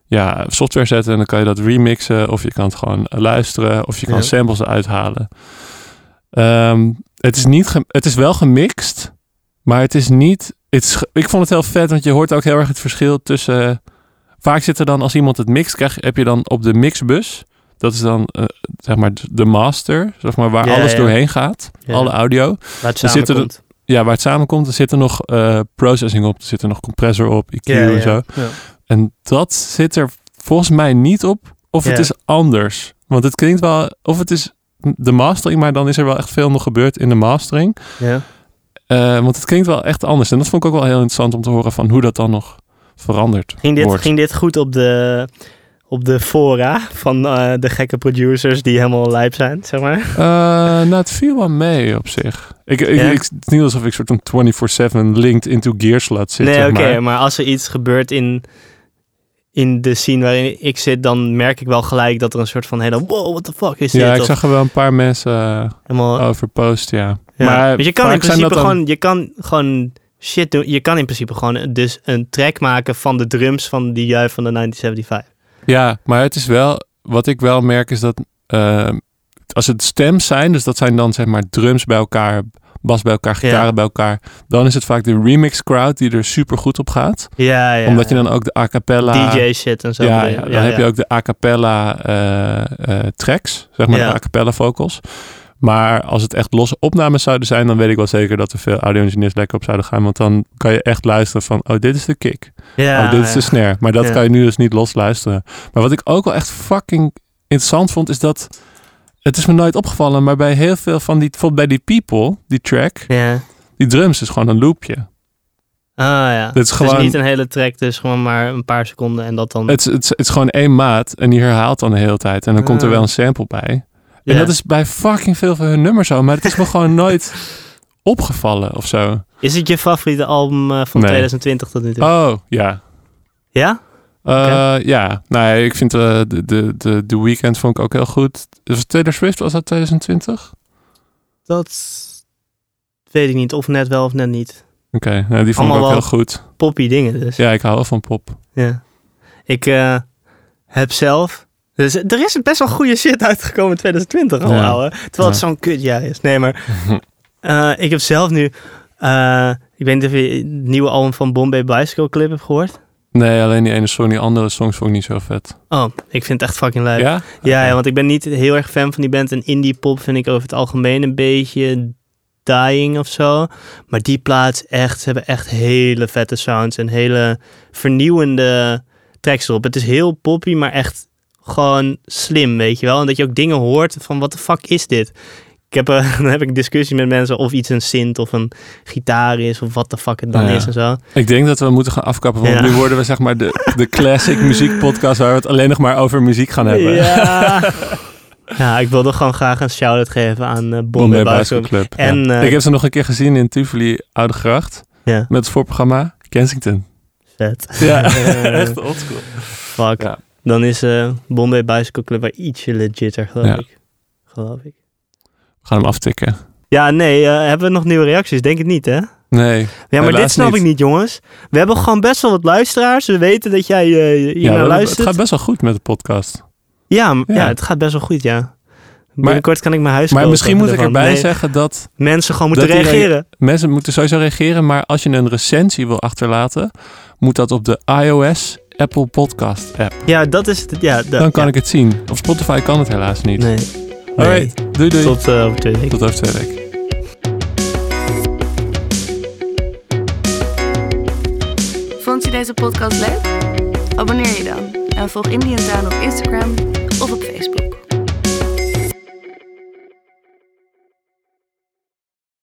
[SPEAKER 1] ja, software zetten en dan kan je dat remixen. Of je kan het gewoon eh, luisteren. Of je kan
[SPEAKER 2] Ja.
[SPEAKER 1] samples uithalen. Ehm, het, is niet ge- het is wel gemixt. Maar het is niet... Het is ge- ik vond het heel vet, want je hoort ook heel erg het verschil tussen... vaak zit er dan, als iemand het mixt, krijg, heb je dan op de mixbus... Dat is dan eh, zeg maar d- de master, zeg maar, waar
[SPEAKER 2] Ja,
[SPEAKER 1] alles
[SPEAKER 2] ja.
[SPEAKER 1] doorheen gaat.
[SPEAKER 2] Ja.
[SPEAKER 1] Alle audio.
[SPEAKER 2] Waar het
[SPEAKER 1] Er zitten
[SPEAKER 2] samenkomt.
[SPEAKER 1] Ja, waar het samenkomt, er zit er nog eh, processing op. Er zit er nog compressor op, EQ
[SPEAKER 2] Ja,
[SPEAKER 1] en
[SPEAKER 2] ja.
[SPEAKER 1] zo.
[SPEAKER 2] Ja.
[SPEAKER 1] En dat zit er volgens mij niet op. Of het
[SPEAKER 2] Ja.
[SPEAKER 1] is anders. Want het klinkt wel. Of het is de mastering, maar dan is er wel echt veel nog gebeurd in de mastering.
[SPEAKER 2] Ja.
[SPEAKER 1] Eh, want het klinkt wel echt anders. En dat vond ik ook wel heel interessant om te horen van hoe dat dan nog verandert.
[SPEAKER 2] Ging, dit,
[SPEAKER 1] wordt.
[SPEAKER 2] ging dit goed op de, op de fora van eh, de gekke producers die helemaal lijp zijn, zeg maar?
[SPEAKER 1] Eh, nou, het viel wel mee op zich. Ik, ik,
[SPEAKER 2] Ja?
[SPEAKER 1] ik- het is niet alsof ik soort van 24-7 linked into gears laat zitten.
[SPEAKER 2] nee, oké,
[SPEAKER 1] maar,
[SPEAKER 2] maar. als er iets gebeurt in, in de scene waarin ik zit, dan merk ik wel gelijk dat er een soort van hele wow, what the fuck is
[SPEAKER 1] ja,
[SPEAKER 2] dit?
[SPEAKER 1] ik
[SPEAKER 2] Of
[SPEAKER 1] zag er wel een paar mensen eh,
[SPEAKER 2] helemaal,
[SPEAKER 1] over posten, ja.
[SPEAKER 2] ja.
[SPEAKER 1] Maar
[SPEAKER 2] Want je kan
[SPEAKER 1] vaak
[SPEAKER 2] in
[SPEAKER 1] zijn
[SPEAKER 2] principe
[SPEAKER 1] dat dan-
[SPEAKER 2] gewoon, je kan gewoon shit doen. Je kan in principe gewoon dus een track maken van de drums van die jui van de 1975.
[SPEAKER 1] Ja, maar het is wel, wat ik wel merk is dat eh, als het stems zijn, dus dat zijn dan zeg maar drums bij elkaar, bas bij elkaar, gitaren bij elkaar, dan is het vaak de remix crowd die er super goed op gaat.
[SPEAKER 2] Ja, ja.
[SPEAKER 1] Omdat je dan ook de a cappella.
[SPEAKER 2] DJ shit en zo.
[SPEAKER 1] Ja,
[SPEAKER 2] bedoel je.
[SPEAKER 1] ja, dan heb je ook de a cappella eh, eh, tracks, zeg maar
[SPEAKER 2] Ja.
[SPEAKER 1] de a cappella vocals. Maar als het echt losse opnames zouden zijn, dan weet ik wel zeker dat er veel audio-engineers lekker op zouden gaan. Want dan kan je echt luisteren van, oh, dit is de kick.
[SPEAKER 2] Ja,
[SPEAKER 1] oh, dit is
[SPEAKER 2] ja.
[SPEAKER 1] de snare. Maar dat
[SPEAKER 2] Ja.
[SPEAKER 1] kan je nu dus niet los luisteren. Maar wat ik ook wel echt fucking interessant vond, is dat... Het is me nooit opgevallen, maar bij heel veel van die... Bijvoorbeeld bij die People, die track,
[SPEAKER 2] Ja.
[SPEAKER 1] die drums is gewoon een loopje.
[SPEAKER 2] Ah ja.
[SPEAKER 1] Dit is gewoon-
[SPEAKER 2] Dus niet een hele track, dus gewoon maar een paar seconden en dat dan.
[SPEAKER 1] Het, is- het, is- het is gewoon één maat en die herhaalt dan de hele tijd. En dan komt er
[SPEAKER 2] Ah.
[SPEAKER 1] wel een sample bij.
[SPEAKER 2] ja.
[SPEAKER 1] En dat is bij fucking veel van hun nummers zo. Maar het is me gewoon nooit opgevallen of zo.
[SPEAKER 2] Is het je favoriete album eh, van
[SPEAKER 1] Nee.
[SPEAKER 2] 2020 tot nu toe?
[SPEAKER 1] Oh, ja.
[SPEAKER 2] Ja?
[SPEAKER 1] Eh,
[SPEAKER 2] Oké.
[SPEAKER 1] Ja, nee, ik vind eh, de, de, de, de Weekend vond ik ook heel goed. Was Taylor Swift, was dat 2020?
[SPEAKER 2] Dat weet ik niet. Of net wel of net niet.
[SPEAKER 1] Oké, nou, die vond ik ook
[SPEAKER 2] Allemaal
[SPEAKER 1] heel
[SPEAKER 2] wel-
[SPEAKER 1] goed.
[SPEAKER 2] Poppy dingen dus. Ja.
[SPEAKER 1] Ja, ik hou wel van pop.
[SPEAKER 2] Ik eh, heb zelf... Dus er is best wel goede shit uitgekomen in 2020 al,
[SPEAKER 1] Ja.
[SPEAKER 2] ouwe. Terwijl het
[SPEAKER 1] Ja.
[SPEAKER 2] zo'n kutjaar is. Nee, maar eh, ik heb zelf nu... eh, ik weet niet of je het nieuwe album van Bombay Bicycle Clip hebt gehoord.
[SPEAKER 1] Nee, alleen die ene song, die andere songs vond ik niet zo vet.
[SPEAKER 2] Oh, ik vind het echt fucking leuk.
[SPEAKER 1] ja?
[SPEAKER 2] Ja, ja, want ik ben niet heel erg fan van die band. En indie pop vind ik over het algemeen een beetje dying of zo. Maar die plaats echt, ze hebben echt hele vette sounds en hele vernieuwende tracks erop. Het is heel poppy, maar echt gewoon slim, weet je wel. En dat je ook dingen hoort van wat de fuck is dit? Ik heb, eh, dan heb ik een discussie met mensen of iets een synth of een gitaar is of wat de fuck het dan
[SPEAKER 1] Ja.
[SPEAKER 2] is en zo.
[SPEAKER 1] Ik denk dat we moeten gaan afkappen, want
[SPEAKER 2] Ja.
[SPEAKER 1] nu worden we zeg maar de, de classic muziekpodcast waar we het alleen nog maar over muziek gaan hebben.
[SPEAKER 2] Ja. ja, ik wilde gewoon graag een shout-out geven aan eh Bombay
[SPEAKER 1] Bombay
[SPEAKER 2] Bicycle
[SPEAKER 1] Bicycle Club. ja.
[SPEAKER 2] En, eh,
[SPEAKER 1] ik heb ze nog een keer gezien in Tivoli Oude Gracht
[SPEAKER 2] Ja,
[SPEAKER 1] met het voorprogramma Kensington.
[SPEAKER 2] vet.
[SPEAKER 1] Ja,
[SPEAKER 2] Eh,
[SPEAKER 1] echt oldschool.
[SPEAKER 2] Fuck.
[SPEAKER 1] Ja.
[SPEAKER 2] Dan is eh Bombay Bicycle Club wel ietsje legitter, geloof
[SPEAKER 1] Ja.
[SPEAKER 2] ik. Geloof ik.
[SPEAKER 1] We gaan hem aftikken.
[SPEAKER 2] Ja, nee, eh, hebben we nog nieuwe reacties? Denk het niet, hè?
[SPEAKER 1] Nee,
[SPEAKER 2] Ja, maar
[SPEAKER 1] Helaas
[SPEAKER 2] dit snap
[SPEAKER 1] niet.
[SPEAKER 2] ik niet, jongens. We hebben gewoon best wel wat luisteraars. We weten dat jij eh, hier
[SPEAKER 1] ja,
[SPEAKER 2] naar
[SPEAKER 1] we- het
[SPEAKER 2] luistert.
[SPEAKER 1] gaat best wel goed met de podcast.
[SPEAKER 2] ja, m- ja.
[SPEAKER 1] Ja.
[SPEAKER 2] het gaat best wel goed, ja. Binnenkort kan ik mijn huis
[SPEAKER 1] Maar
[SPEAKER 2] kopen
[SPEAKER 1] misschien moet ik
[SPEAKER 2] ervan.
[SPEAKER 1] erbij
[SPEAKER 2] Nee,
[SPEAKER 1] zeggen dat
[SPEAKER 2] Mensen gewoon moeten
[SPEAKER 1] dat die re-
[SPEAKER 2] reageren.
[SPEAKER 1] Mensen moeten sowieso reageren, maar als je een recensie wil achterlaten, moet dat op de iOS Apple Podcast app.
[SPEAKER 2] Ja, dat is het. Ja, dat-
[SPEAKER 1] Dan kan
[SPEAKER 2] ja.
[SPEAKER 1] ik het zien. Op Spotify kan het helaas niet.
[SPEAKER 2] Nee. Nee.
[SPEAKER 1] Alright, doei doei.
[SPEAKER 2] Tot eh, over twee weken.
[SPEAKER 1] Tot over twee weken.
[SPEAKER 3] Vond je deze podcast leuk? Abonneer je dan en volg Indian Town op Instagram of op Facebook.